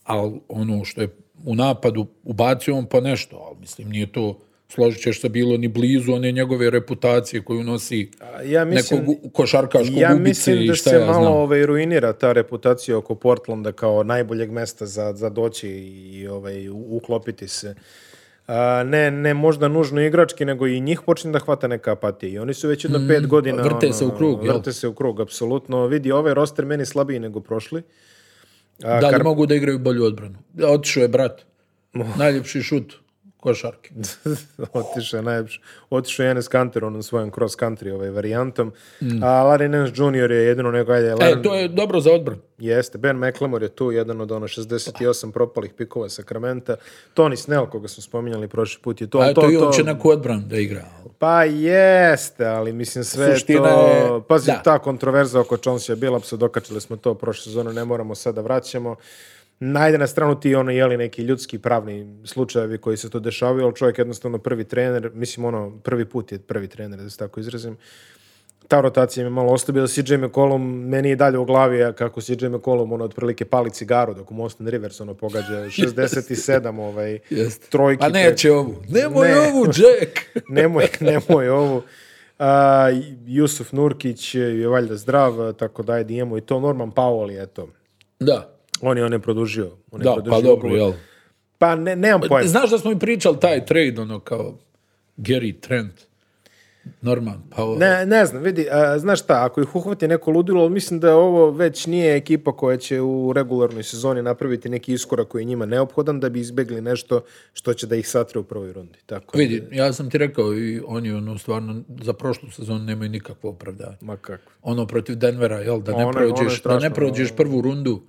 Ali ono što je u napadu ubacio on pa nešto, ali mislim nije to, složit ćeš se, bilo ni blizu one njegove reputacije koju nosi A Ja mislim, nekog u- košarkaškog ja ubice mislim da i šta se ja malo znam. ovaj, ruinira ta reputacija oko Portlanda kao najboljeg mesta za, za doći i ovaj, u- uklopiti se. A, ne, ne možda nužno igrački, nego i njih počne da hvata neka apatija. I oni su već jedno pet godina... Mm, ono, vrte se u krug, jel? Vrte se u krug, apsolutno. Vidi, ovaj roster meni slabiji nego prošli. A, Da li Kar- mogu da igraju bolju odbranu? Otišao je brat. Najljepši šut košarke. E, otišao je najlepše. Otišao je Enes Kanter onom svojom cross country ovaj, varijantom. A Larry Nance Jr. je jedino nego, ajde, Larry- Mm. E, to je dobro za odbranu. Jeste, Ben McLemore je tu jedan od ono 68 propalih pikova Sakramenta. Tony Snell, koga smo spominjali prošli put, je to. A ali eto Pa to, i on to- će neku odbranu da igra. ali- Pa jeste, ali mislim sve je Suština to... je- Pazi, da. ta kontroverza oko Chauncea Billupsa, dokačili smo to prošle sezonu, ne moramo sada da vraćamo. Najde na stranu ti ono, jeli, neki ljudski pravni slučajevi koji se to dešavaju, ali čovjek jednostavno prvi trener, mislim ono, prvi put je prvi trener, da se tako izrazim, ta rotacija mi je malo oslabila. CJ McCollum, meni je dalje u glavi a kako CJ McCollum ono otprilike pali cigaru dok mu Austin Rivers ono pogađa 67 ovaj Jeste. trojki. Pa neće ovu. Nemoj Ne. ovu, Jack! nemoj, nemoj ovo. A, Jusuf Nurkić je valjda zdrav, tako da ajde imamo i to. Norman Powell je to. Da, On je, on je produžio. On je da, produžio pa dobro, ugovor. jel? Pa ne, nemam pojma. Znaš da smo i pričali taj trade, ono kao Gary Trent, Norman Powell. Ne, ne znam, vidi, a, znaš šta, ako ih uhvati neko ludilo, ali mislim da ovo već nije ekipa koja će u regularnoj sezoni napraviti neki iskorak koji je njima neophodan da bi izbegli nešto što će da ih satre u prvoj rundi. Tako da- Vidi, ja sam ti rekao i oni ono stvarno za prošlu sezonu nemaju nikakvo opravdanje. Ma kako. Ono protiv Denvera, jel? Da ne, Ono je- ono je prođeš, da strašno, ne prođeš prvu rundu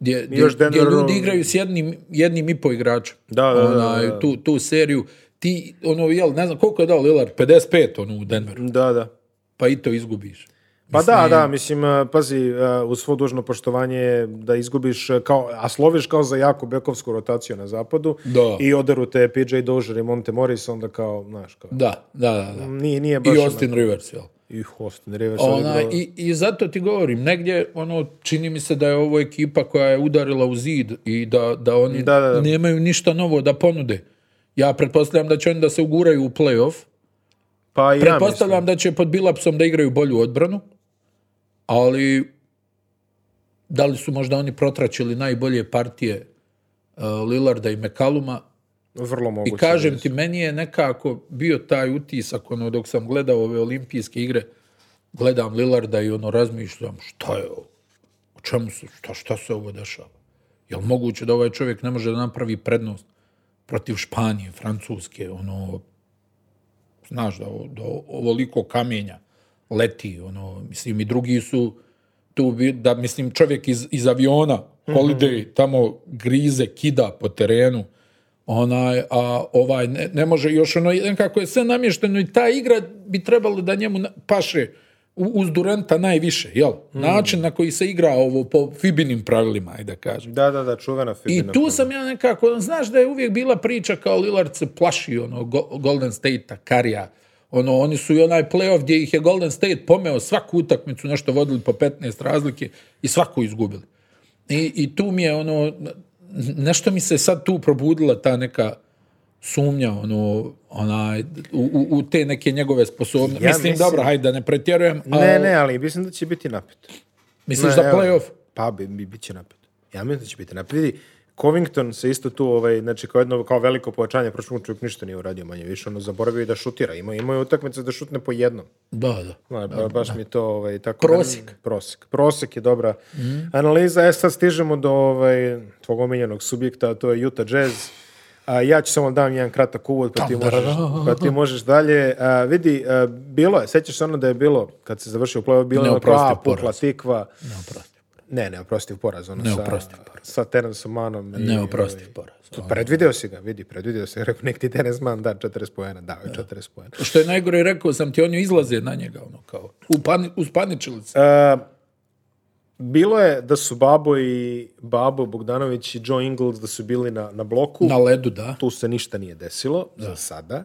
gdje, gdje, još gdje Denveru- ljudi igraju s jednim, jednim i po igračem. Da, da, da, Onaj, da. Tu, tu seriju. Ti, ono, jel, ne znam koliko je dao Lillard, 55 ono u Denveru, Da, da. pa i to izgubiš. Pa da, e, da, mislim, a, pazi, a, uz svo dužno poštovanje da izgubiš, a, kao, a sloviš kao za jaku bekovsku rotaciju na zapadu Da. i oderu te PJ Dozier i Monte Morris, onda kao, znaš, kao, Da, da, da. da. nije, nije baš... I ono- Austin Rivers, jel? I Austin Rivers. Ona, odigrao- i, I zato ti govorim, negdje ono, čini mi se da je ovo ekipa koja je udarila u zid i da, da oni Da, da, da. nemaju ništa novo da ponude. Ja pretpostavljam da će oni da se uguraju u playoff. Pa i ja mislim. Pretpostavljam da će pod Bilapsom da igraju bolju odbranu, ali da li su možda oni protračili najbolje partije uh, Lillarda i Mekaluma? Vrlo moguće. I kažem ti, meni je nekako bio taj utisak, ono, dok sam gledao ove olimpijske igre, gledam Lillarda i ono, razmišljam, šta je ovo? O čemu se, šta, šta se ovo dešava? Jel moguće da ovaj čovjek ne može da napravi prednost protiv Španije, Francuske, ono, znaš da, o- da o- ovoliko kamenja leti, ono, mislim, i drugi su tu, bi- da, mislim, čovjek iz, iz aviona, Holiday, tamo grize, kida po terenu, onaj, a ovaj, ne, ne može, još ono, nekako je sve namješteno i ta igra bi trebalo da njemu na- paše u- uz Duranta najviše, jel? Način na koji se igra ovo po Fibinim pravilima, ajde da kažem. Da, da, da, čuvena I Fibina. tu sam ja nekako, znaš da je uvijek bila priča kao Lillard se plaši ono, Go- Golden State-a, Karija. Ono, oni su i onaj playoff gdje ih je Golden State pomeo svaku utakmicu, nešto vodili po 15 razlike i svaku izgubili. I, i tu mi je ono, nešto mi se sad tu probudila ta neka sumnja ono, onaj, u, u- u te neke njegove sposobnosti. Ja mislim, mislim- dobro, hajde da ne pretjerujem, ali Ne, ne, ali mislim da će biti napet. misliš Ne, da evo, playoff? Pa, bi, bi, bit će napet. Ja mislim da će biti napet. Vidi, Covington se isto tu, ovaj, znači, kao jedno kao veliko pojačanje, prošlo mu čovjek ništa nije uradio manje više, ono, zaboravio je da šutira. Ima, imao je utakmice da šutne po jednom. Da, da. Ma, ba- baš mi to ovaj, tako... Prosjek. da- prosjek. Prosjek je dobra analiza. E sad stižemo do ovaj, tvog omiljenog subjekta, a to je Utah Jazz. A, ja ću samo da dam jedan kratak uvod, pa ti možeš, pa ti možeš dalje. A, vidi, a, bilo je, sećaš se ono da je bilo, kad se završio play bilo je ono kao, Neoprostiv a, pukla poraz. tikva. Neoprostiv. Ne, ne, oprostiv poraz. Ono, Neoprostiv sa, sa Terensom Manom. i, Neoprostiv poraz. ovaj, Predvideo si ga, vidi, predvideo si ga. Rekao, nek ti Terence Man da 40 pojena. Da, 40 pojena. Što je najgore rekao sam ti, oni izlaze na njega, ono kao, upani, uspaničili se. E, bilo je da su Babo i Babo Bogdanović i Joe Ingles da su bili na, na bloku. Na ledu, da. Tu se ništa nije desilo za sada.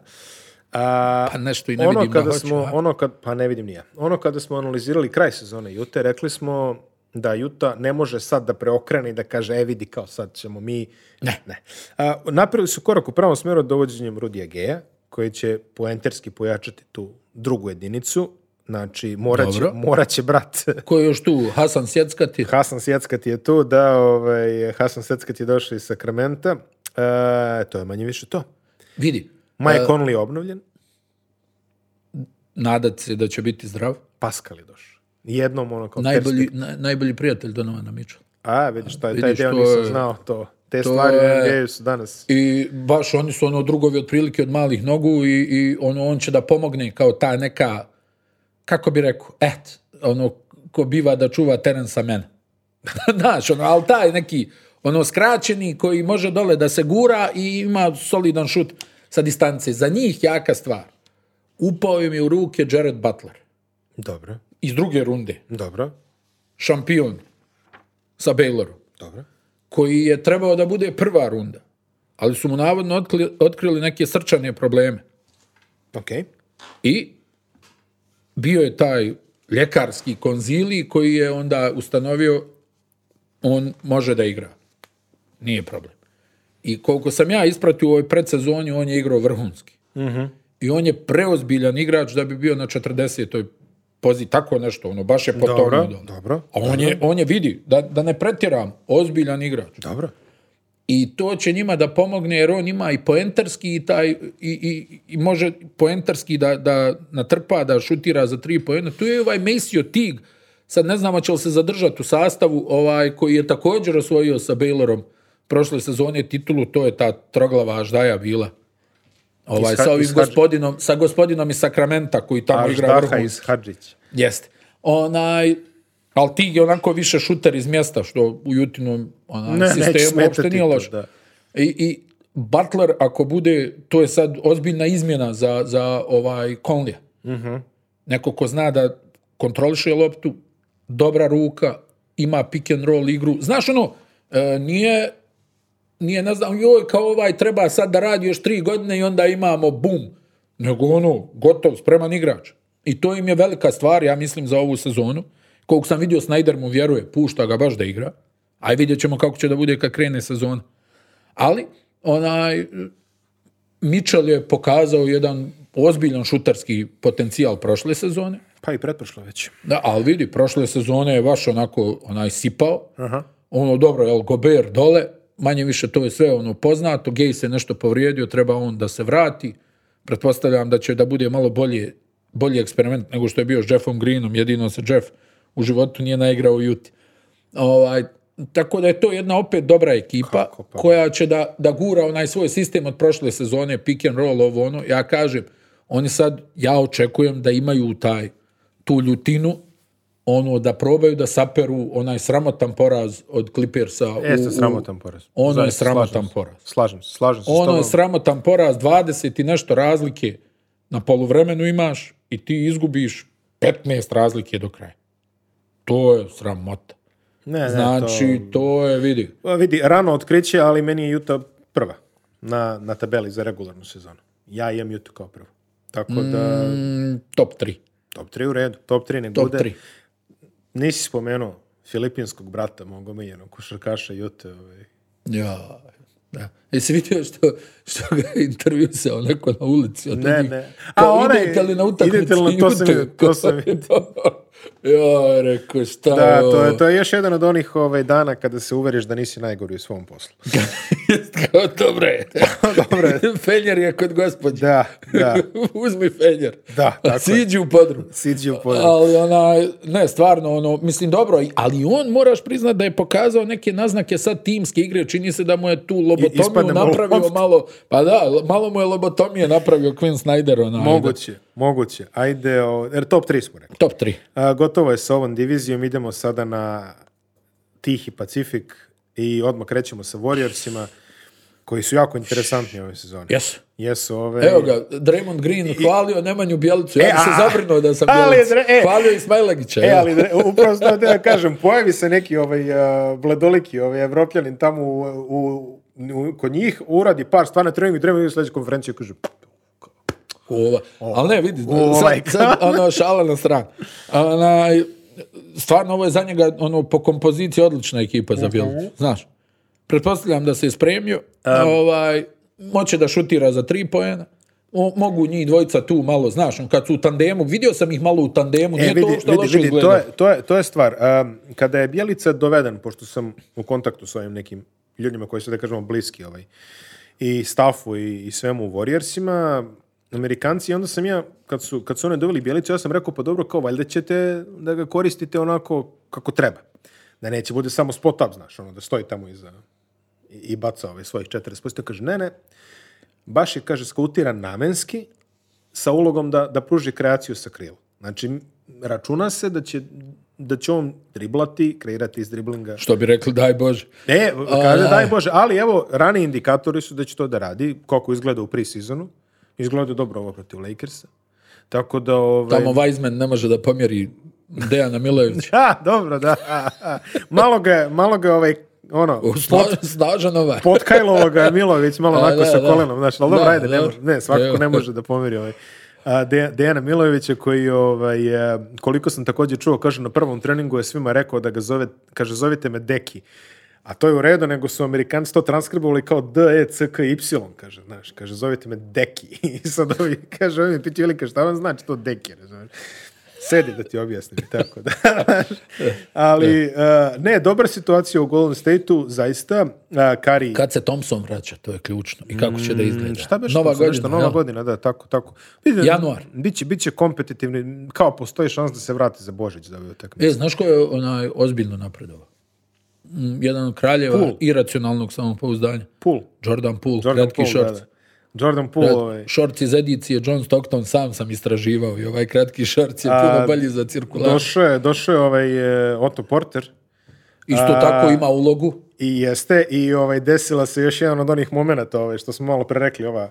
A, Pa nešto i ne ono vidim kada da hoće, smo, a? ono kad, pa ne vidim nije. Ono kada smo analizirali kraj sezone Jute, rekli smo da Juta ne može sad da preokrene i da kaže, e vidi kao sad ćemo mi... Ne. ne. A, napravili su korak u pravom smjeru dovođenjem Rudija Geja, koji će poenterski pojačati tu drugu jedinicu. Znači, morat će, Dobro. morat će brat Ko je još tu? Hasan Sjeckati? Hasan Sjeckat je tu, da, ovaj, Hasan Sjeckat je došao iz Sakramenta. E, to je manje više to. Vidi, Mike Conley je obnovljen, nadat se da će biti zdrav. Pascal je došao. Jednom ono kao Najbolji, perspekt- na- najbolji prijatelj Donovana Mitchell. A, vidiš, taj, taj Vidiš, deo to nisam je- znao to. Te stvari u je- NBA-u su danas... I baš oni su ono drugovi otprilike od malih nogu i, i ono, on će da pomogne kao ta neka, kako bi rekao, et, ono, ko biva da čuva teren sa mene. Znaš, ono, ali taj neki, ono, skraćeni koji može dole da se gura i ima solidan šut sa distance. Za njih jaka stvar. Upao im je u ruke Jared Butler Dobro, iz druge runde, dobro, šampion sa Baylorom dobro. koji je trebao da bude prva runda, ali su mu navodno otkli- otkrili neke srčane probleme. Ok. I bio je taj ljekarski konzili koji je onda ustanovio on može da igra. Nije problem. I koliko sam ja ispratio u ovoj predsezoni, on je igrao vrhunski. Mhm. I on je preozbiljan igrač da bi bio na 40. poziciji, tako nešto, ono, baš je potonuo Dobro, dole. dobro, A on je, on je vidi, da, da ne pretjeram, ozbiljan igrač. Dobro. I to će njima da pomogne jer on ima i poentarski i, taj, i, i, i može poentarski da, da natrpa, da šutira za tri poena. Tu je i ovaj Maceo Tig, sad ne znamo će li se zadržati u sastavu, ovaj koji je također osvojio sa Baylorom prošle sezone titulu, to je ta troglava aždaja bila. Ovaj, Iz Ha- sa ovim iz Hadž- gospodinom, sa gospodinom iz Sakramenta koji tamo Aš igra Daha vrhunski. iz Hadžić. Jeste. Onaj, ali ti je onako više šuter iz mjesta, što u Jutinom onaj, Ne, neće sistemu smetati uopšte nije to, loš. da. I, I Butler, ako bude, to je sad ozbiljna izmjena za, za ovaj Conley. Mhm. Neko ko zna da kontroliše loptu, dobra ruka, ima pick and roll igru. Znaš ono, e, nije nije, ne znam, joj, kao ovaj treba sad da radi još tri godine i onda imamo bum. Nego ono, gotov, spreman igrač. I to im je velika stvar, ja mislim, za ovu sezonu. Koliko sam vidio, Snyder mu vjeruje, pušta ga baš da igra. Aj vidjet ćemo kako će da bude kad krene sezona. Ali, onaj, Mitchell je pokazao jedan ozbiljan šutarski potencijal prošle sezone. Pa i pretprošlo već. Da, ali vidi, prošle sezone je baš onako onaj sipao. Aha. Ono, dobro, El Gober dole, manje više to je sve ono poznato, Gej se nešto povrijedio, treba on da se vrati. Pretpostavljam da će da bude malo bolje, bolji eksperiment nego što je bio s Jeffom Greenom, jedino se Jeff u životu nije naigrao u Juti. Ovaj, tako da je to jedna opet dobra ekipa Kako pa? koja će da, da gura onaj svoj sistem od prošle sezone, pick and roll, ovo ono. Ja kažem, oni sad, ja očekujem da imaju taj tu ljutinu ono da probaju da saperu onaj sramotan poraz od Clippersa. u- Jeste u- sramotan poraz. Ono je Zaista, slažem sramotan se. poraz. Slažem se, slažem se s Ono tobom. je sramotan poraz, 20 i nešto razlike na poluvremenu imaš i ti izgubiš 15 razlike do kraja. To je sramota. E, Ne, ne, Znači, to... je, vidi, to- Pa Vidi, rano otkriće, ali meni je Utah prva na, na tabeli za regularnu sezonu. Ja imam Utah kao prvu. Tako da, mm, top 3. top 3 u redu, top 3 ne Top bude. 3. Nisi spomenuo filipinskog brata, mog omiljenog košarkaša Utah. Ovaj. Ja, da. Jesi vidio što, što ga je intervjusao neko na ulici? Od Ne, onih, ne. kao, A, onaj- idete li na utakmicu? idete li na- to sam vidio, to sam vidio. ja, rekao, šta Da, je ovo? to je, to je još jedan od onih ovaj, dana kada se uveriš da nisi najgori u svom poslu. Kao, dobro je. Dobro je. Fenjer je kod gospodina. Da, da, Uzmi Fenjer. Da, tako je. Siđi u podrum. siđi u polju. Ali onaj, ne, stvarno, ono, mislim, dobro, ali on, moraš priznat da je pokazao neke naznake sad timske igre, čini se da mu je tu ispadne lobotomiju mu napravio lopta. malo, pa da, malo mu je lobotomije napravio Quinn Snyder, ono, onaj. Moguće, moguće. Ajde, o, jer top 3 smo rekli. Top 3. A, gotovo je s ovom divizijom, idemo sada na Tihi Pacifik i odmah krećemo sa Warriorsima, koji su jako interesantni ove sezone. Jesu. Jesu ove... Evo ga, Draymond Green hvalio Nemanju Bjelicu. Ja E, bi se a- zabrinuo da sam ali je Bjelica. Dre- e. hvalio i Smajlagića. E, evo. ali dre- upravo sam da ja kažem, pojavi se neki ovaj, a, bledoliki ovaj, evropljanin tamo u, u- u- kod njih, uradi par stvarno trening i trening i sledeću konferenciju i kaže, Ova. Ali ne, vidi, ovaj sad, sad ono, šala na stran. Onaj, stvarno, ovo je za njega, ono, po kompoziciji odlična ekipa za Mhm. Bjelicu, znaš. Pretpostavljam da se je spremio, ovaj, moće da šutira za tri pojena, O, mogu njih dvojica tu malo, znaš, on kad su u tandemu, vidio sam ih malo u tandemu, E, nije to vidi, uopšte vidi, loše vidi, izgleda. to, je, to, je, to je stvar. Um, kada je Bjelica doveden, pošto sam u kontaktu s ovim nekim ljudima koji su, da kažemo, bliski ovaj, i stafu i, i svemu u Warriorsima, Amerikanci, i onda sam ja, kad su, kad su one doveli Bjelicu, ja sam rekao, pa dobro, kao, valjda ćete da ga koristite onako kako treba. Da neće bude samo spot up, znaš, ono, da stoji tamo iza i, i baca ovaj svojih 40%. Kaže, ne, ne, baš je, kaže, skautiran namenski sa ulogom da, da pruži kreaciju sa krila. Znači, m- računa se da će, da će on driblati, kreirati iz driblinga. Što bi rekli, daj Bože. Ne, kaže, A- daj Bože, ali evo, rani indikatori su da će to da radi, koliko izgleda u pre-sezonu. Izgleda dobro ovo protiv Lakersa. Tako da, ovaj... Tamo Weizman ne može da pomjeri Dejana Milojevića. Ha, dobro, da. Malo ga, malo ga ovaj, ono, Sna- Snažan ovaj. Potkajlovo ga je Milović malo Da, onako da, sa da. kolenom, znaš, ali dobro, Da, ajde, ne, da. može, ne, svakako Evo. ne može da pomiri ovaj. A, De- Dejana Milovića koji, ovaj, e, koliko sam također čuo, kaže na prvom treningu je svima rekao da ga zove, kaže zovite me Deki. A to je u redu, nego su Amerikanci to transkribovali kao D, E, C, K, Y, kaže, znaš, kaže, zovite me Deki. I sad ovi, kaže, ovi mi pitaju, ili kaže, šta vam znači to Deki, razumiješ? Sedi da ti objasnim, tako da. Ali, e, ne, dobra situacija u Golden State-u, zaista. Kari, Kad se Thompson vraća, to je ključno. I kako će da izgleda. Mm, Šta beš? Nova Nova godina. godina, nova jel? godina, da, tako, tako. Vidite, Januar. Biće, biće kompetitivni, kao postoji šans da se vrati za Božić za ove utakmice. E, znaš ko je onaj ozbiljno napredovao? Mm, Jedan od kraljeva Poole. iracionalnog samopouzdanja. Pool. Jordan Poole, Jordan kratki Poole, da, šorc. da. Jordan Poole, ovaj. Šorci iz edicije John Stockton sam sam istraživao i ovaj kratki šorc je A, puno bolji za cirkulaciju. Došao je, došao je ovaj e, Otto Porter Isto tako ima ulogu. i jeste i ovaj desila se još jedan od onih momenata ovaj što smo malo pre rekli ova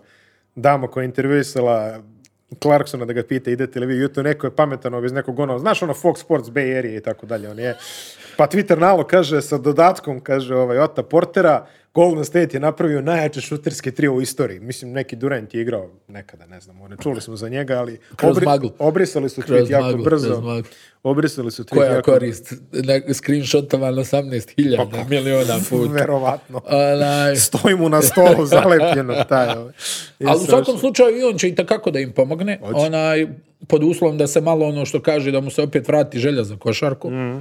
dama koja je intervjuisala Clarksona da ga pita idete li vi u Utah, neko je pametan ovaj, iz nekog ono, znaš ono Fox Sports Bay Area i tako dalje, on je. Pa Twitter nalo kaže sa dodatkom, kaže ovaj, Ota Portera, Golden State je napravio najjače šuterske trio u istoriji. Mislim, neki Durant je igrao nekada, ne znam, ne čuli smo za njega, ali Kroz maglu. obrisali su Kroz tweet jako maglu, kroz brzo. maglu. Obrisali su tweet Koja jako korist? Ne, Screenshotova na Pa 18.000 miliona puta. Verovatno. Onaj, Stoji mu na stolu zalepljeno taj. ovaj. Ali u Jesu, svakom slučaju i on će i takako da im pomogne. Onaj, pod uslovom da se malo ono što kaže, da mu se opet vrati želja za košarku. Mhm.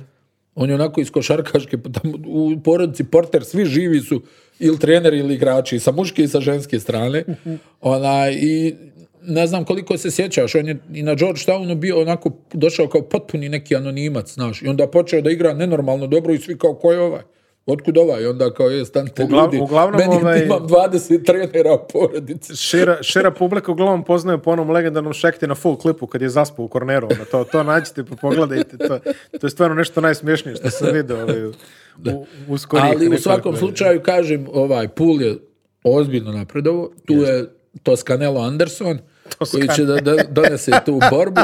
On je onako iz košarkaške, pa tamo u porodici Porter, svi živi su ili treneri ili igrači, i sa muške i sa ženske strane. Mhm. Onaj, I ne znam koliko se sjećaš, on je i na Georgetownu bio onako, došao kao potpuni neki anonimac, znaš, i onda počeo da igra nenormalno dobro i svi kao, ko je ovaj? Otkud ovaj? Onda kao je, stanite Uglav- ljudi. uglavnom, Meni ovaj- imam 20 trenera u porodici. Šira, šira publika uglavnom poznaje po onom legendarnom šekti na full klipu kad je zaspao u korneru. Ono, to, to nađite pa pogledajte. To, to je stvarno nešto najsmiješnije što sam vidio ovaj, u, u, u skorijih Ali u nekoliko svakom godina. slučaju, kažem, ovaj, Pul je ozbiljno napredovo. Tu je Toscanelo Anderson, koji će da, da donese tu borbu.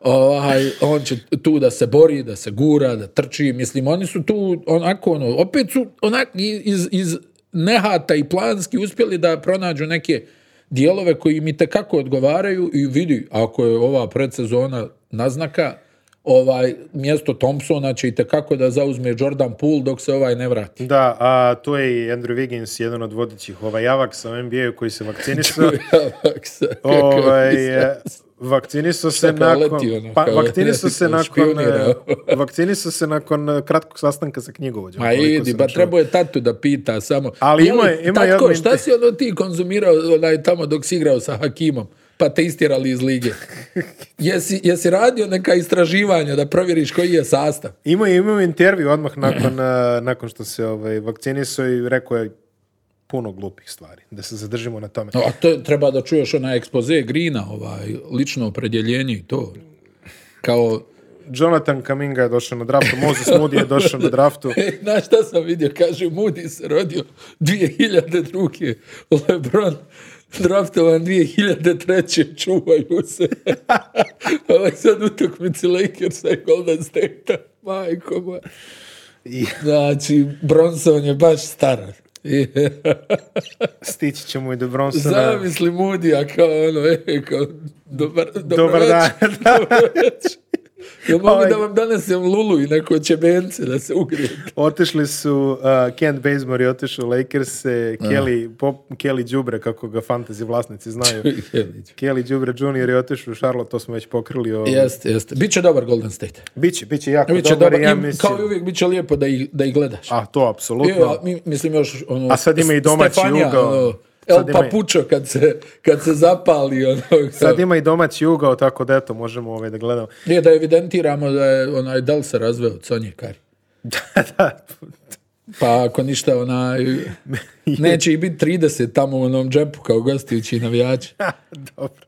Ovaj, on će tu da se bori, da se gura, da trči. Mislim, oni su tu onako, ono, opet su onak, iz, iz nehata i planski uspjeli da pronađu neke dijelove koji mi tekako odgovaraju i vidi, ako je ova predsezona naznaka, ovaj mjesto Thompsona će i tekako da zauzme Jordan Poole dok se ovaj ne vrati. Da, a tu je i Andrew Wiggins, jedan od vodećih ovaj javak sa NBA koji se vakcinisao. Aleksa, kako ovaj, je e, vakcinisao se Šta kao nakon... leti ono, Pa, kao vakcinisao se nakon... e, špionirao. vakcinisao se nakon e, kratkog sastanka sa knjigovođom. Ma koliko idi, sam ba čuo. trebao je tatu da pita samo. Ali Je li, ima je- ima tatko, jedno- šta si ono ti konzumirao onaj tamo dok si igrao sa Hakimom? Pa te istjerali iz lige. Jesi, jesi radio neka istraživanja da provjeriš koji je sastav? Imao je imao je intervju odmah nakon, e, nakon što se ovaj, vakcinisao i rekao je puno glupih stvari. Da se zadržimo na tome. No, a to je- treba da čuješ onaj ekspoze Grina, ovaj, lično opredjeljenje i to. Kao, Jonathan Kaminga je došao na draftu, Moses Moody je došao na draftu. E, Znaš šta sam vidio? Kaže, Moody se rodio 2002. Lebron draftovan 2003. Čuvaju se. Ovo je sad utakmici Lakersa i Golden State-a. Majko moja. I Znači, Bronson je baš staran. I, stići ćemo i do Bronsona. Zamisli Moody, a kao ono, e, kao, dobar, dobar, Dobar dan. Ja mogu Ovaj. da vam donesem lulu i neko čebence da se ugrijete. Otišli su, uh, Kent Bazemore je otišao u Lakers, e, Kelly, Pop- Kelly Đubre, kako ga fantasy vlasnici znaju. Kelly Đubre Jr. je otišao u Charlotte, to smo već pokrili. Ovo. Jeste, jeste. Biće dobar Golden State. Biće, biće jako Biće dobar, dobar, ja i mislim. kao i uvijek biće lijepo da ih, da ih gledaš. A, to apsolutno. I, a, mi- mislim još ono, A sad ima i domaći Stefanija, ugao. ono, Sad El ima i- Papučo kad se, kad se zapali. Ono, Sad ima i domaći ugao, tako da eto, možemo ovaj da gledamo. Nije da evidentiramo da je onaj Del se razveo od Sonje Kari. Da, da. Pa ako ništa onaj... Neće i biti 30 tamo u onom džepu kao gostujući navijači. Dobro.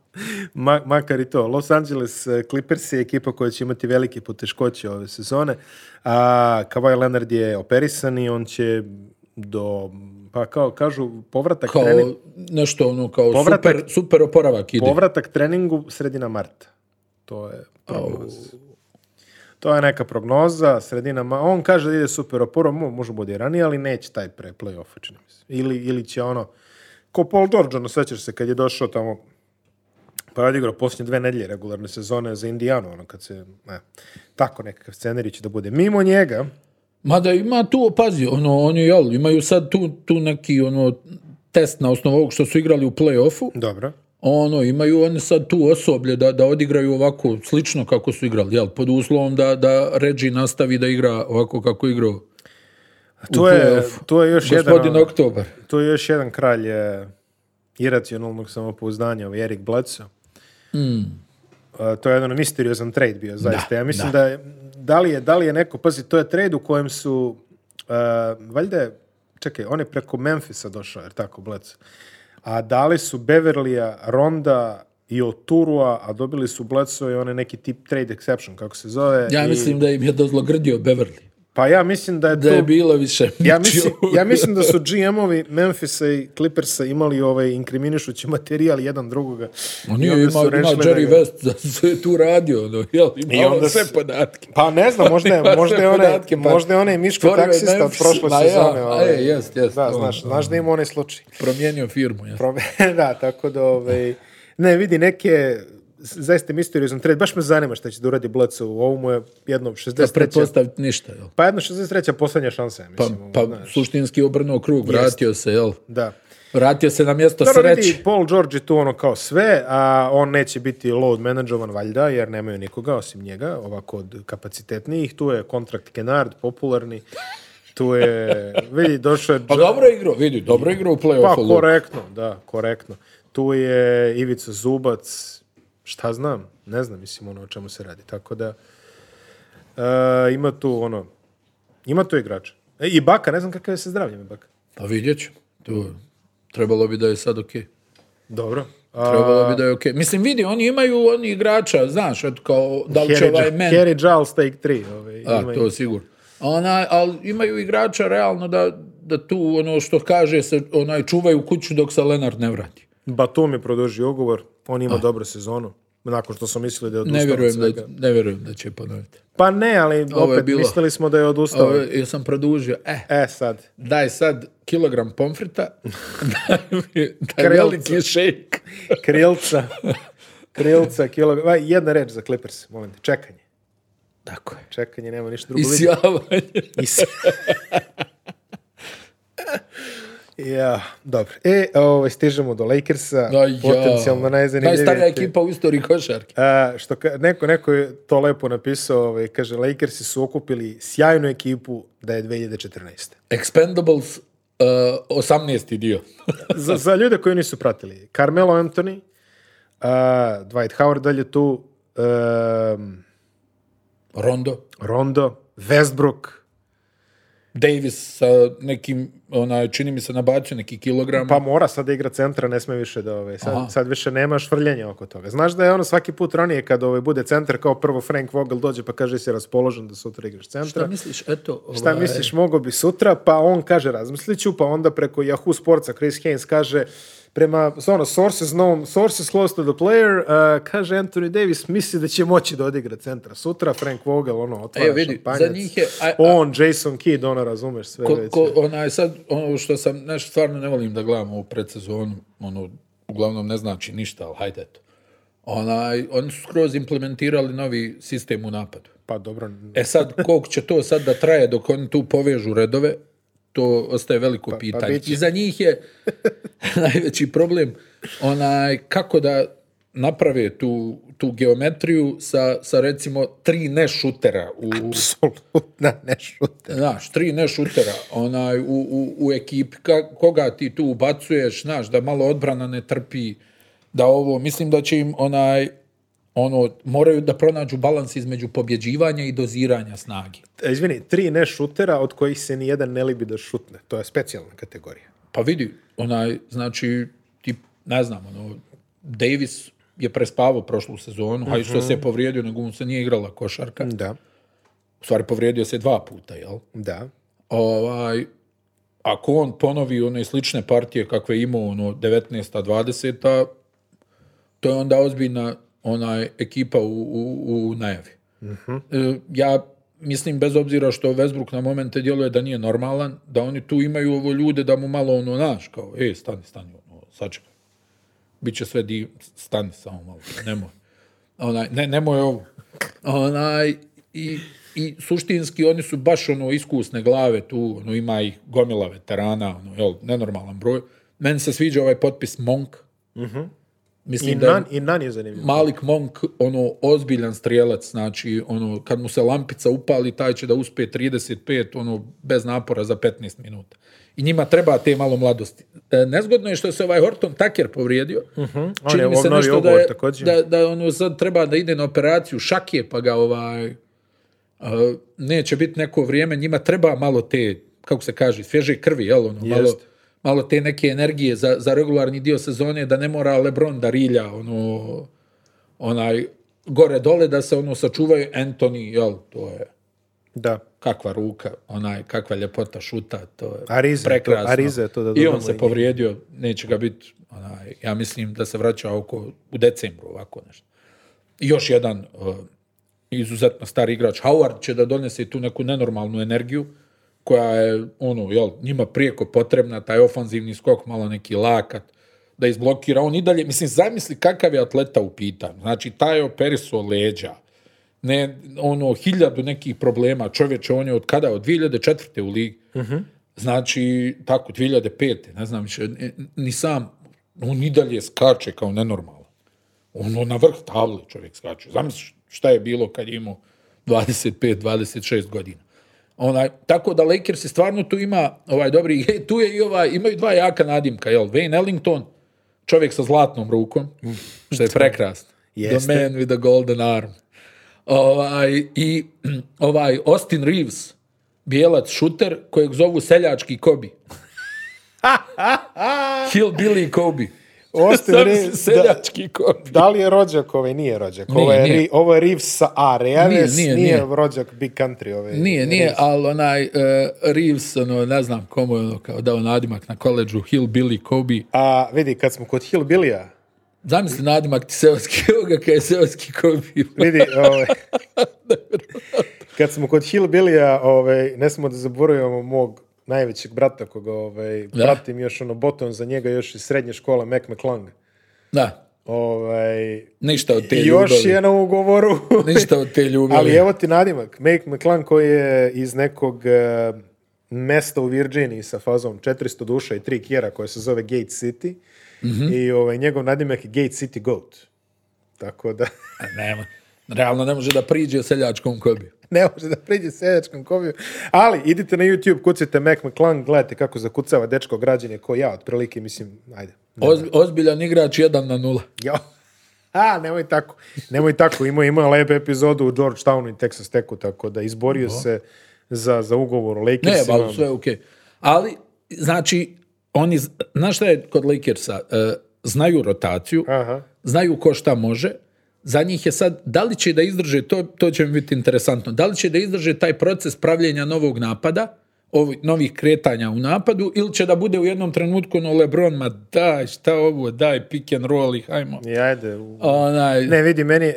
Ma- makar i to. Los Angeles eh, Clippers je ekipa koja će imati velike poteškoće ove sezone. A Kawhi Leonard je operisan i on će do, pa kao kažu, povratak, trening, Kao nešto ono kao Povratak- super, super oporavak ide. povratak treningu sredina marta. To je prognoza. To je neka prognoza, sredina ma On kaže da ide super oporo, mo- možda bude i ranije, ali neće taj pre playoff, čini mi se. Ili, ili će ono, ko Paul George, ono, sećaš se kad je došao tamo Pa je odigrao posljednje dve nedlje regularne sezone za Indijanu, ono kad se, ne, tako nekakav scenarij će da bude. Mimo njega, Mada ima tu, pazi, ono, oni, jel, imaju sad tu, tu neki, ono, test na osnovu ovog što su igrali u play-offu, dobro, ono, imaju oni sad tu osoblje da, da odigraju ovako slično kako su igrali, jel, pod uslovom da, da Reggie nastavi da igra ovako kako je igrao to je, play-offu. to je još jedan, ono. gospodin Oktobar. to je još jedan kralj e, iracionalnog samopouzdanja, ovaj Erik Bledsoe. E, to je jedan misteriozan trade bio, zaista. ja mislim da, je, da, li je, da li je neko, pazi, to je trade u kojem su, e, valjda je, čekaj, on je preko Memfisa došao, jer tako, Bledsoe. A dali su Beverlija, Ronda i Oturua, a dobili su Bledsoe i onaj neki tip trade exception, kako se zove. Ja i- mislim da im je dozlogrdio Beverly. Pa ja mislim da je Da je to- bilo više. ja mislim, ničijog. ja mislim da su GM-ovi Memphisa i Clippersa imali ovaj inkriminišući materijal jedan drugoga. Ma I nije, onda ima, su ima rešili da Jerry ga- West, da se je tu radio, ono, jel, ima I onda on sve su- podatke. Pa ne znam, možda Ima je, sve možda je onaj, podatke, pa možda je onaj Miško stvorio je taksista od Memphis, prošle ma ja, sezone. ovaj. e, jest, jest, Da, on, znaš, znaš da ima onaj slučaj. Promijenio firmu, ja. Pro- da, tako da, ovaj, ne, vidi neke zaista misteriozan trade. Baš me zanima šta će da uradi Bledsoe. Ovo mu je jedno Da 63. pretpostaviti ništa, jel. Pa jedno 63. poslednja šansa, ja Pa, mislim. ovo, pa znaš. suštinski obrnuo krug, vratio se, jel? da. Vratio se na mjesto Dobro, sreće. vidi, Paul George je tu ono kao sve, a on neće biti load managerovan valjda, jer nemaju nikoga osim njega, ovako od kapacitetnijih. Tu je kontrakt Kenard, popularni. Tu je, vidi, došao je... Pa dobro je igrao, vidi, dobro je igrao u play-offu. Pa, Luka. korektno, da, korektno. Tu je Ivica Zubac, šta znam, ne znam, mislim, ono o čemu se radi. Tako da, e, ima tu, ono, ima tu igrača. E, I Baka, ne znam kakav je sa zdravljem je Baka. Pa vidjet ću. To, trebalo bi da je sad okej. Dobro. Trebalo bi da je okej. Mislim, vidi, oni imaju oni igrača, znaš, eto kao, da li će ovaj men... Harry Giles Take 3. Ovaj, A, ima to sigurno. A Ona, ali imaju igrača realno da, da tu, ono što kaže, se onaj, čuvaju kuću dok se Lenard ne vrati. Batum je produžio ugovor, on ima dobru sezonu, nakon što smo mislili da je Ah. Ne odustao od vjerujem, svega. da, ne vjerujem da će ponoviti. Pa ne, ali Ovo je opet bilo. mislili smo da je odustao. Ovo, jesam produžio, eh, E sad, daj sad kilogram pomfrita, daj, mi- daj Krelca. veliki šejk. krilca, krilca, kilogram, aj, jedna reč za Clippers, molim te, čekanje. Tako je. Čekanje, nema ništa drugo. vidi. Isjavanje. Is- ja, dobro. E, ovaj, stižemo do Lakersa, Da, ja. potencijalno najzanimljivije. Najstarija ekipa u istoriji košarke. A, što ka- neko, neko je to lepo napisao, ovaj, kaže, Lakersi su okupili sjajnu ekipu da je 2014. Expendables, uh, 18. dio. za, za ljude koji nisu pratili, Carmelo Anthony, uh, Dwight Howard dalje tu, um, Rondo, Rondo, Westbrook, Davis sa nekim, onaj, čini mi se, nabacio neki kilogram. pa mora sad da igra centra, ne sme više da ove, Aha. sad, sad više nema švrljenja oko toga. Znaš da je ono svaki put ranije kad ove, bude centar, kao prvo Frank Vogel dođe pa kaže si raspoložen da sutra igraš centra. Šta misliš, eto, ovaj, Šta misliš, mogo bi sutra, pa on kaže razmislit ću, pa onda preko Yahoo Sportsa Chris Haynes kaže prema ono, sources, known, sources close to the player, uh, kaže Anthony Davis misli da će moći da odigra centra sutra, Frank Vogel, ono, otvara Evo, E, vidi, šampanjac. za njih je- a- a- on, Jason Kidd, ono, razumeš sve ko, već. ko, onaj, sad, ono što sam, nešto stvarno ne volim da gledam ovu predsezonu, ono, uglavnom ne znači ništa, ali hajde eto. Onaj, oni su skroz implementirali novi sistem u napadu. Pa dobro, E sad, koliko će to sad da traje dok oni tu povežu redove, to ostaje veliko pitanje. Pa, bit će. I za njih je najveći problem onaj, kako da naprave tu, tu geometriju sa, sa recimo tri nešutera u, apsolutna nešuta. Znaš, tri nešutera onaj, u, u, u ekipi, ka- koga ti tu ubacuješ, znaš, da malo odbrana ne trpi, da ovo, mislim da će im onaj, ono, moraju da pronađu balans između pobjeđivanja i doziranja snagi. E, Izvini, tri nešutera od kojih se ni jedan ne libi da šutne. To je specijalna kategorija. Pa vidi, onaj, znači, ti, ne znam, ono, Davis je prespavao prošlu sezonu, a i što se je povrijedio, nego mu se nije igrala košarka. Da, U stvari, povrijedio se dva puta, jel? da. ovaj, ako on ponovi one slične partije kakve je imao ono 19 20 to je onda ozbiljna onaj ekipa u, u, u najavi. E, ja mislim bez obzira što Westbrook na momente djeluje da nije normalan, da oni tu imaju ovo ljude da mu malo ono naš kao ej stani stani ono sačekaj. Biće sve di stani samo malo nemoj. Onaj ne nemoj ovo. Onaj i i suštinski oni su baš ono iskusne glave tu, ono ima ih gomila veterana, ono jel, nenormalan broj. Meni se sviđa ovaj potpis Monk. I Mislim da je- Nan, i Nan je zanimljiv. Malik Monk, ono, ozbiljan strijelac, znači, ono, kad mu se lampica upali, taj će da uspe 35, ono, bez napora za 15 minuta. I njima treba te malo mladosti. E, nezgodno je što se ovaj Horton Tucker povrijedio. Mhm. On Čini je mi se obnovio nešto da, ugovor je- također. da, da, ono, sad treba da ide na operaciju šake, pa ga, ovaj, e, neće biti neko vrijeme, njima treba malo te, kako se kaže, svježe krvi, jel, ono, malo, Jest. malo te neke energije za, za regularni dio sezone, da ne mora Lebron da rilja, ono, onaj, gore dole, da se ono sačuvaju Anthony, jel, to je Da. kakva ruka, onaj, kakva ljepota šuta, to je Ariza je to- prekrasno. Ariza je to da I dodamo on se i- povrijedio, neće ga biti, onaj, ja mislim da se vraća oko, u decembru, ovako nešto. I još jedan uh, izuzetno stari igrač, Howard će da donese tu neku nenormalnu energiju, koja je, ono, jel, njima prijeko potrebna, taj ofanzivni skok, malo neki lakat, da izblokira on i dalje. Mislim, zamisli kakav je atleta u pitanju. Znači, taj je operiso leđa, ne, ono, hiljadu nekih problema, čovječe, on je od kada? Od 2004. u ligi. Znači, tako, 2005. Ne znam, više, e, ni sam, on i dalje skače kao nenormalan. Ono, na vrh table čovjek skače. Zamisli šta je bilo kad je imao 25-26 godina. Onaj, tako da Lakers je stvarno tu ima ovaj dobri, e, tu je i ovaj, imaju dva jaka nadimka, jel? Wayne Ellington, čovjek sa zlatnom rukom, što je prekrasno. Jeste. The man with the golden arm. Ovaj, I mm, ovaj Austin Reeves, bijelac šuter kojeg zovu seljački Kobi. Hillbilly Kobi. Ostaje Sam re- si seljački Kobi. Da li je rođak ovaj? Nije rođak. Ovo je, Nije, nije. ri- ovo je Reeves sa A. Reaves Nije, nije, nije, nije. rođak Big Country. Ovaj. Nije, nije, ali onaj uh, Reeves, ono, ne znam komu je ono, kao dao nadimak na koleđu, Hillbilly Kobe. A vidi, kad smo kod Hillbillija, Zamisli nadimak ti seoski, evo ga kaj je seoski Kobe. vidi, ovaj, kad smo kod Hillbillija, ovaj, ne smo da zaboravimo mog najvećeg brata koga ovaj, pratim još ono botom za njega još iz srednje škole Mac McClung. Da, Ovaj, ništa od te I još ljubavi. je na ugovoru. Ništa od te ljubavi. Ali evo ti nadimak. Make McClan koji je iz nekog eh, mesta u Virginiji sa fazom 400 duša i 3 kjera koja se zove Gate City. Mhm. I ovaj, njegov nadimak je Gate City Goat. Tako da A Nema. Realno ne može da priđe seljačkom Kobi. ne može da priđe seljačkom koviju. Ali idite na YouTube, kucite Mac McClan, gledajte kako zakucava dečko građanje ko ja, otprilike, mislim, ajde. Oz, ozbiljan igrač 1 na 0. Ja. A, nemoj tako. Nemoj tako. Imao ima lepe epizodu u Georgetownu i Texas Techu, tako da izborio se za, za ugovor u Ne, Lakersima. ali sve je okej. Ali, znači, oni, z- znaš šta je kod Lakersa? E, znaju rotaciju, Aha. znaju ko šta može, za njih je sad, da li će da izdrže, to, to će mi biti interesantno, da li će da izdrže taj proces pravljenja novog napada, ovi, novih kretanja u napadu, ili će da bude u jednom trenutku no Lebron, ma daj, šta ovo, daj, pick and roll ih, ajmo. I ajde. u- Onaj, Ne, vidi, meni e,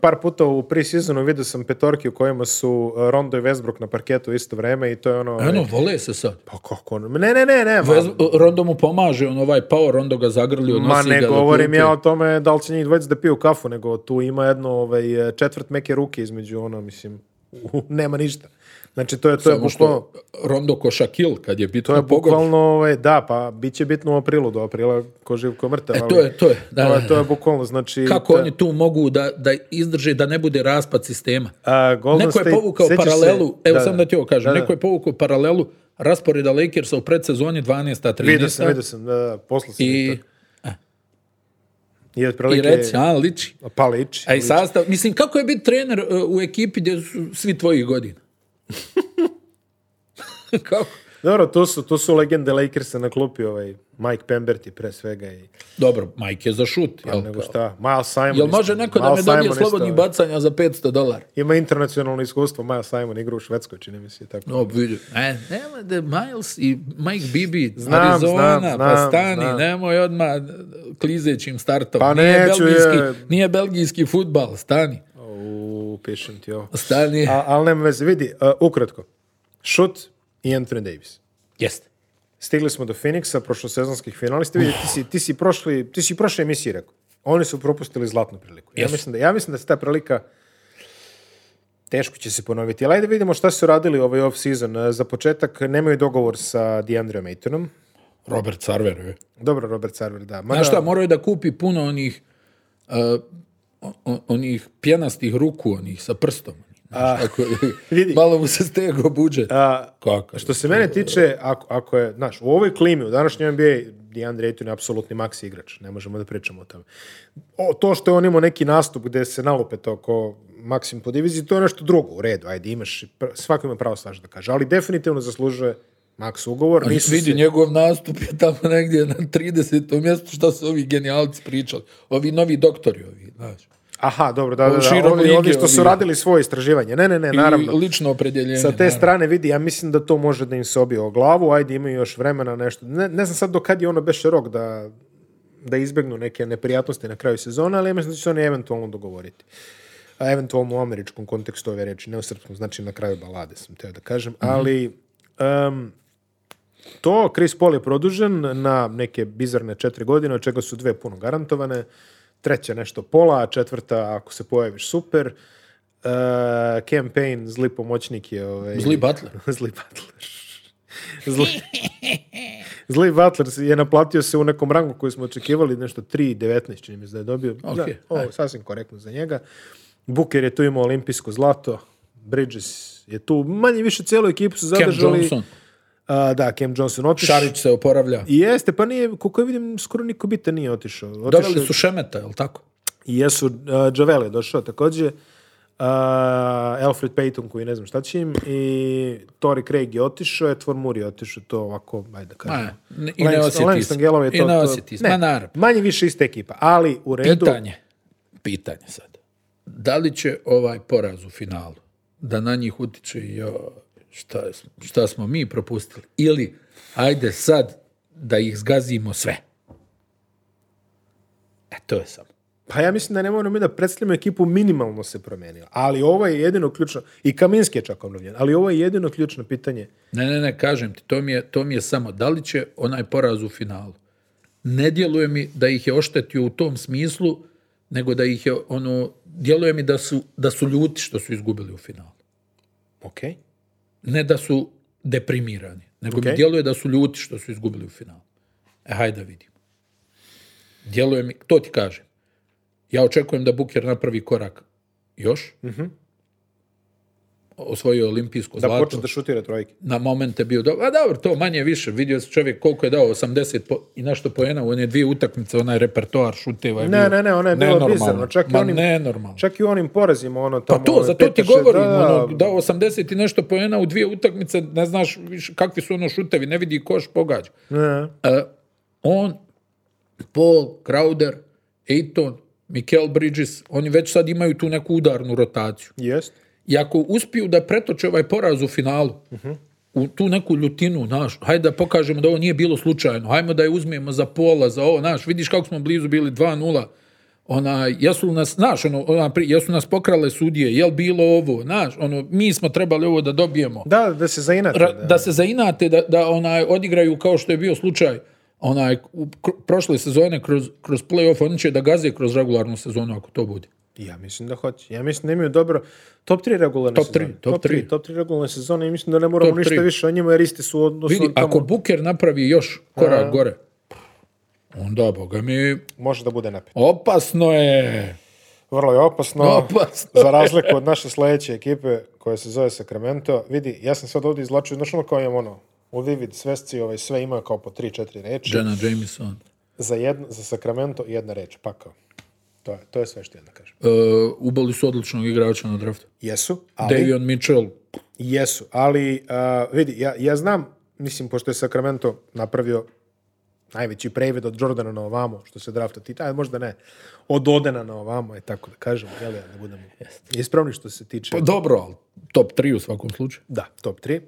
par puta u pre-seasonu vidio sam petorki u kojima su e, Rondo i Westbrook na parketu u isto vreme i to je ono... Eno, vole se sad. Pa kako ono? Ne, ne, ne, ne. ma- Vez- Rondo mu pomaže, on ovaj power, Rondo ga zagrli, odnosi Ma ga ne do govorim klupe. ja o tome da li će njih dvojica da piju kafu, nego tu ima jedno ovaj, četvrt meke ruke između ono, mislim, nema ništa. Znači, to je, to je Samo bukvalno... što Rondo ko Shaquille, kad je bitno To je bukvalno, ovaj, da, pa bit će bitno u aprilu, do aprila ko živ ko mrtav. ali- E, to je- to je, da, to da, je, to je bukvalno, znači... Kako ta- oni tu mogu da, da izdrže da ne bude raspad sistema? a, Golden Neko je State- povukao sjećaš se- paralelu, evo sam da ti ovo kažem, da, da. neko je povukao paralelu rasporeda Lakersa u predsezoni 12. 13. Vidio sam, vidio sam, da, da, posla sam I, mi to. I, i otprilike, reci, a, liči. Pa liči. A i liči. sastav, mislim, kako je biti trener e, u ekipi gdje su svi tvojih godina? kako? Dobro, tu su, tu su legende Lakersa na klupi, ovaj, Mike Pemberti pre svega i Dobro, Mike je za šut. jel? Pa nego šta, Miles Simon. Jel isto, može neko da Miles me dobije Simon isto, slobodnih ovaj, bacanja za 500 dolara? Ima internacionalno iskustvo, Miles Simon igra u Švedskoj, čini mi se, tako. No, vidi. E, nema da Miles i Mike Bibi, Znam, Arizona, znam, pa znam, stani, znam. nemoj odmah klizećim startom. Pa nije, neću, belgijski, je. nije belgijski futbal, stani. U, pišem ti ovo. Stani. A, ali nema veze, vidi, a, ukratko. Šut i Anthony Davis. Jeste. Stigli smo do Phoenixa, prošlosezonskih finalista. Vidi, ti si, ti si prošli, ti si prošle emisije rekao. Oni su propustili zlatnu priliku. Ja, Jesu. mislim da, ja mislim da se ta prilika teško će se ponoviti. Ali ajde vidimo šta su radili ovaj off-season. E, Za početak nemaju dogovor sa DeAndre Aytonom. Robert Sarver. je. Dobro, Robert Sarver, Pa da. Mada, Znaš šta, moraju da kupi puno onih uh, o- o- onih pjenastih ruku, onih sa prstom. Znaš, tako, vidi. malo mu se stego budžet. a, Kako? Što se mene tiče, ako, ako je, znaš, u ovoj klimi, u današnjoj NBA, DeAndre Ayton je apsolutni maksi igrač, ne možemo da pričamo o tome. O, to što je on imao neki nastup gde se nalupeta oko maksim po diviziji, to je nešto drugo, u redu, ajde, imaš, pr- svako ima pravo svašta da kaže, ali definitivno zaslužuje maks ugovor, nisu Vidi, se- njegov nastup je tamo negdje na 30. mjestu, šta su ovi genijalci pričali. Ovi novi doktori, ovi, znaš. Aha, dobro, da, da, da, Širom ovi, lige, ovi što su ovi- radili svoje istraživanje, ne, ne, ne, naravno. I lično opredjeljenje. Sa te naravno. strane vidi, ja mislim da to može da im se obije o glavu, ajde imaju još vremena nešto. Ne, ne znam sad do kad je ono beše rok da, da izbegnu neke neprijatnosti na kraju sezone, ali ja mislim da će se oni eventualno dogovoriti. A eventualno u američkom kontekstu ove reči, ne u srpskom, znači na kraju balade sam teo da kažem, Mhm. ali em, to, Chris Paul je produžen na neke bizarne četiri godine, od čega su dve puno garantovane, treća nešto pola, a četvrta ako se pojaviš super, Uh, campaign, zli pomoćnik je ovaj, Zli Butler. Zli Butler. Zli, Zli Butler je naplatio se u nekom rangu koji smo očekivali, nešto 3.19 čini mi se da je dobio. Da, Ok, ovo je sasvim korektno za njega. Buker je tu imao olimpijsko zlato, Bridges je tu, manje više cijelu ekipu su Cam zadržali. Johnson. A, da, Cam Johnson otišao. Šarić se oporavlja. I Jeste, pa nije, koliko je vidim, skoro niko bitan nije otišao. Otišao Doveli je- su Šemeta, jel tako? i Jesu, uh, Javele je došao takođe. Uh, Alfred Payton koji ne znam šta će im i Tori Craig je otišao, Edward Moore je otišao, to ovako, ajde da kažemo. Ma, ne- i ne osjeti se. Gelov je to, I ne to- osjeti se. Ma, naravno. manje više ista ekipa, ali u redu. Pitanje, pitanje sad. Da li će ovaj poraz u finalu da na njih utiče i "Jo, šta, je- šta smo mi propustili? Ili ajde sad da ih zgazimo sve. E, to je samo. Pa ja mislim da ne moramo mi da predstavljamo ekipu minimalno se promijenila, ali ovo je jedino ključno, i Kaminski je čak obnovljen, ali ovo je jedino ključno pitanje. Ne, ne, ne, kažem ti, to mi je, to mi je samo, da li će onaj poraz u finalu? Ne djeluje mi da ih je oštetio u tom smislu, nego da ih je, ono, djeluje mi da su, da su ljuti što su izgubili u finalu. Ok. Ne da su deprimirani, nego Okej. mi djeluje da su ljuti što su izgubili u finalu. E, hajde da vidimo. Djeluje mi, to ti kažem. Ja očekujem da Buker napravi korak još. Osvojio je olimpijsko Mhm. Da zlato počne da šutira trojke. na momente bio dobro. A dobro, to manje više. Vidio se čovjek koliko je dao, 80 po- i nešto pojena u one dvije utakmice, onaj repertoar šuteva je Ne, bio ne, ne, ona je bila nenormalan. bizarno. Čak i, Ma onim, nenormalno. čak i u onim porazima, ono tamo... Pa to, za to ti petaše, govorim, da, da, ono, dao 80 i nešto pojena u dvije utakmice, ne znaš više kakvi su ono šutevi, ne vidi koš pogađa. ne. E, on, Paul, Crowder, Ayton, Mikel Bridges, oni već sad imaju tu neku udarnu rotaciju. Jest. I ako uspiju da pretoče ovaj poraz u finalu, u tu neku ljutinu, naš, hajde da pokažemo da ovo nije bilo slučajno, hajmo da je uzmijemo za pola, za ovo, naš, vidiš kako smo blizu bili 2-0, onaj, jesu li nas, znaš, ono, ona, pri- jesu nas pokrale sudije, jel bilo ovo, znaš, ono, mi smo trebali ovo da dobijemo, Da, da se zainate. Ra- da, se zainate, da, da onaj, odigraju kao što je bio slučaj, onaj, u kr- prošle sezone kroz, kroz playoff, oni će da gaze kroz regularnu sezonu ako to bude. Ja mislim da hoće. Ja mislim da imaju dobro top 3 regularne Top tri, sezone. top top 3. tri. Top 3 regularne sezone i mislim da ne moramo Top ništa tri. više o njima jer isti su u odnosu Vidi, na tamo. ako Buker napravi još korak gore, onda, boga mi, Može da bude napet. opasno je. Vrlo je opasno. Opasno. za razliku od naše sledeće ekipe koja se zove Sacramento. Vidi, ja sam sad ovdje izlačio, znaš ono kao imam ono, u Vivid svesci ovaj, sve ima kao po 3-4 reči. Jenna Jameson. Za, jedno, za Sacramento jedna reč, pakao. To je, to je sve što ja da kažem. E, ubali su odličnog igrača na draftu. Jesu, ali... Davion Mitchell, Jesu, ali a, vidi, ja, ja znam, mislim, pošto je Sacramento napravio najveći previd od Jordana na ovamo, što se drafta tiče, a možda ne, od Odena na ovamo, je tako da kažemo, jel ja, da budemo ispravni što se tiče, pa dobro, ali top 3 u svakom slučaju. da, top 3.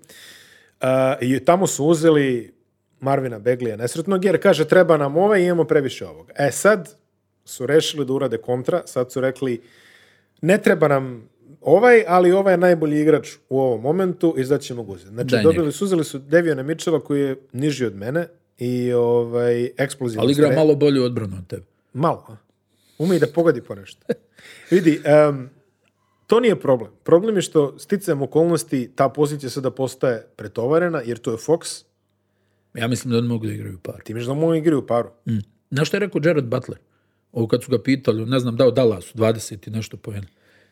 A, I tamo su uzeli Marvina Beglija nesretnog, jer kaže treba nam ovaj, imamo previše ovoga. E sad su rešili da urade kontra, sad su rekli ne treba nam ovaj, ali ovaj je najbolji igrač u ovom momentu i sad ćemo ga uzeti. Znači, Daj dobili su, uzeli su Deviona Mitchella koji je niži od mene i ovaj, eksplozivno. Ali igra malo bolju odbranu od tebe. Malo. a? Ume i da pogodi ponešto. Vidi, em, to nije problem. Problem je što sticajem okolnosti ta pozicija sada postaje pretovarena, jer to je Fox. Ja mislim da oni mogu da igraju par. Ti miš da mu igri u paru. Mm. Na što je rekao Jared Butler? Ovo kad su ga pitali, on, ne znam, dao Dallasu 20 i nešto pojena.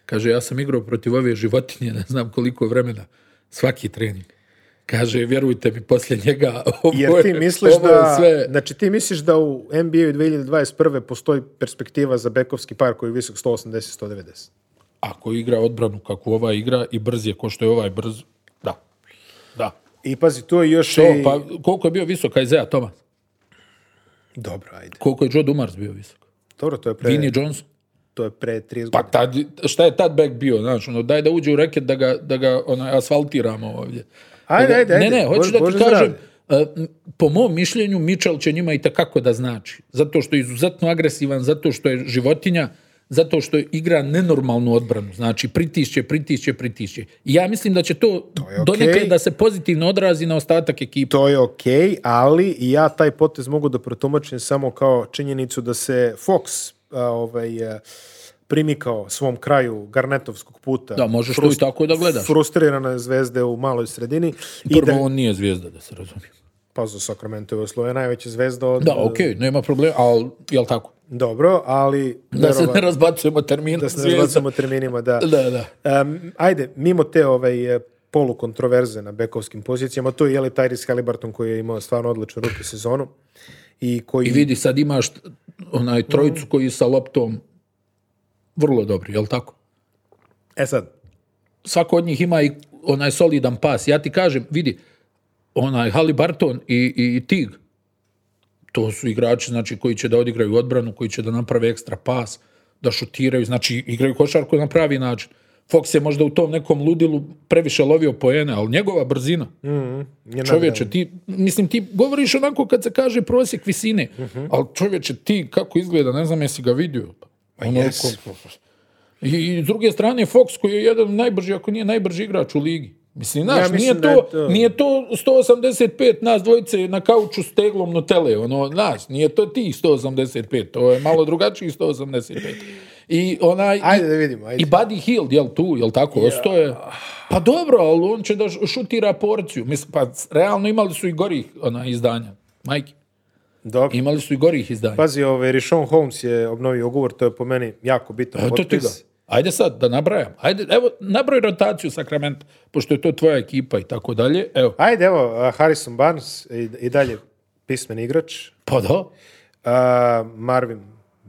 Kaže, ja sam igrao protiv ove životinje, ne znam koliko vremena, svaki trening. Kaže, vjerujte mi, poslije njega ovo Jer ti je- misliš ovo je da, sve... znači ti misliš da u NBA-u 2021. postoji perspektiva za bekovski par koji je visok 180-190. Ako igra odbranu kako ova igra i brz je ko što je ovaj brz, da. Da. I pazi, tu je još To, i... pa koliko je bio visok Isaiah Thomas? Dobro, ajde. Koliko je Joe Dumars bio visok? Dobro, to je pre, Vinnie Johnson? to je pre 30 Pa godina. tad, šta je tad back bio? Znači, ono, daj da uđe u reket da ga, da ga onaj, asfaltiramo ovdje. Ajde, ajde, ajde. Ne, ne, hoću Bože- da ti Bože kažem, e, m, po mom mišljenju Mitchell će njima i takako da znači. Zato što je izuzetno agresivan, zato što je životinja, zato što igra nenormalnu odbranu. Znači, pritišće, pritišće, pritišće. I ja mislim da će to, je donekle okej. da se pozitivno odrazi na ostatak ekipa. To je okej, ali ja taj potez mogu da protumačim samo kao činjenicu da se Fox a, ovaj, e, primikao svom kraju Garnetovskog puta. Da, možeš to i tako da gledaš. Frustrirane zvezde u maloj sredini. I Prvo, da, on nije zvijezda, da se razumije. pa za Sacramento je Slovenija najveća zvezda od... Da, okej, nema problema, ali, jel tako? Dobro, ali... Da se ne verovatno- razbacujemo termina. da se ne zvijezda. razbacamo terminima, da. Da, da. Em, ajde, mimo te ovaj, e, polukontroverze na bekovskim pozicijama, to je jeli Tyrese Halliburton koji je imao stvarno odličnu ruku sezonu i koji I vidi, sad imaš onaj trojicu koji sa loptom vrlo dobri, jel tako? E sad, svako od njih ima i onaj solidan pas. Ja ti kažem, vidi, onaj Halibarton i, i, i Tig, to su igrači znači, koji će da odigraju odbranu, koji će da naprave ekstra pas, da šutiraju, znači igraju košarku na pravi način. Fox je možda u tom nekom ludilu previše lovio poene, ali njegova brzina, nije čovječe, ti, mislim, ti govoriš onako kad se kaže prosjek visine, Mhm. ali čovječe, ti kako izgleda, ne znam jesi ga vidio. Ono, jes. ko- I, I s druge strane, Fox koji je jedan najbrži, ako nije najbrži igrač u ligi. Mislim, znaš, mislim nije, da je to, to- nije to 185 nas dvojice na kauču s teglom Nutelle, ono, znaš, nije to ti 185, to je malo drugačiji 185. I onaj... Ajde da vidimo, ajde. I Buddy Hield, jel tu, jel tako, ostao je. Pa dobro, ali on će da š- šutira porciju. Mislim, pa s- realno imali su i gorih ona, izdanja. Majke, Dobro. imali su i gorih izdanja. Pazi, ovaj, Rishon Holmes je obnovio ugovor, to je po meni jako bitan Eto ti ga. potpis. Ajde sad da nabrajam. Ajde, evo, nabroj rotaciju Sakramenta, pošto je to tvoja ekipa i tako dalje. Evo, Ajde, evo, a, Harrison Barnes i, i dalje pismen igrač. pa da. A, Marvin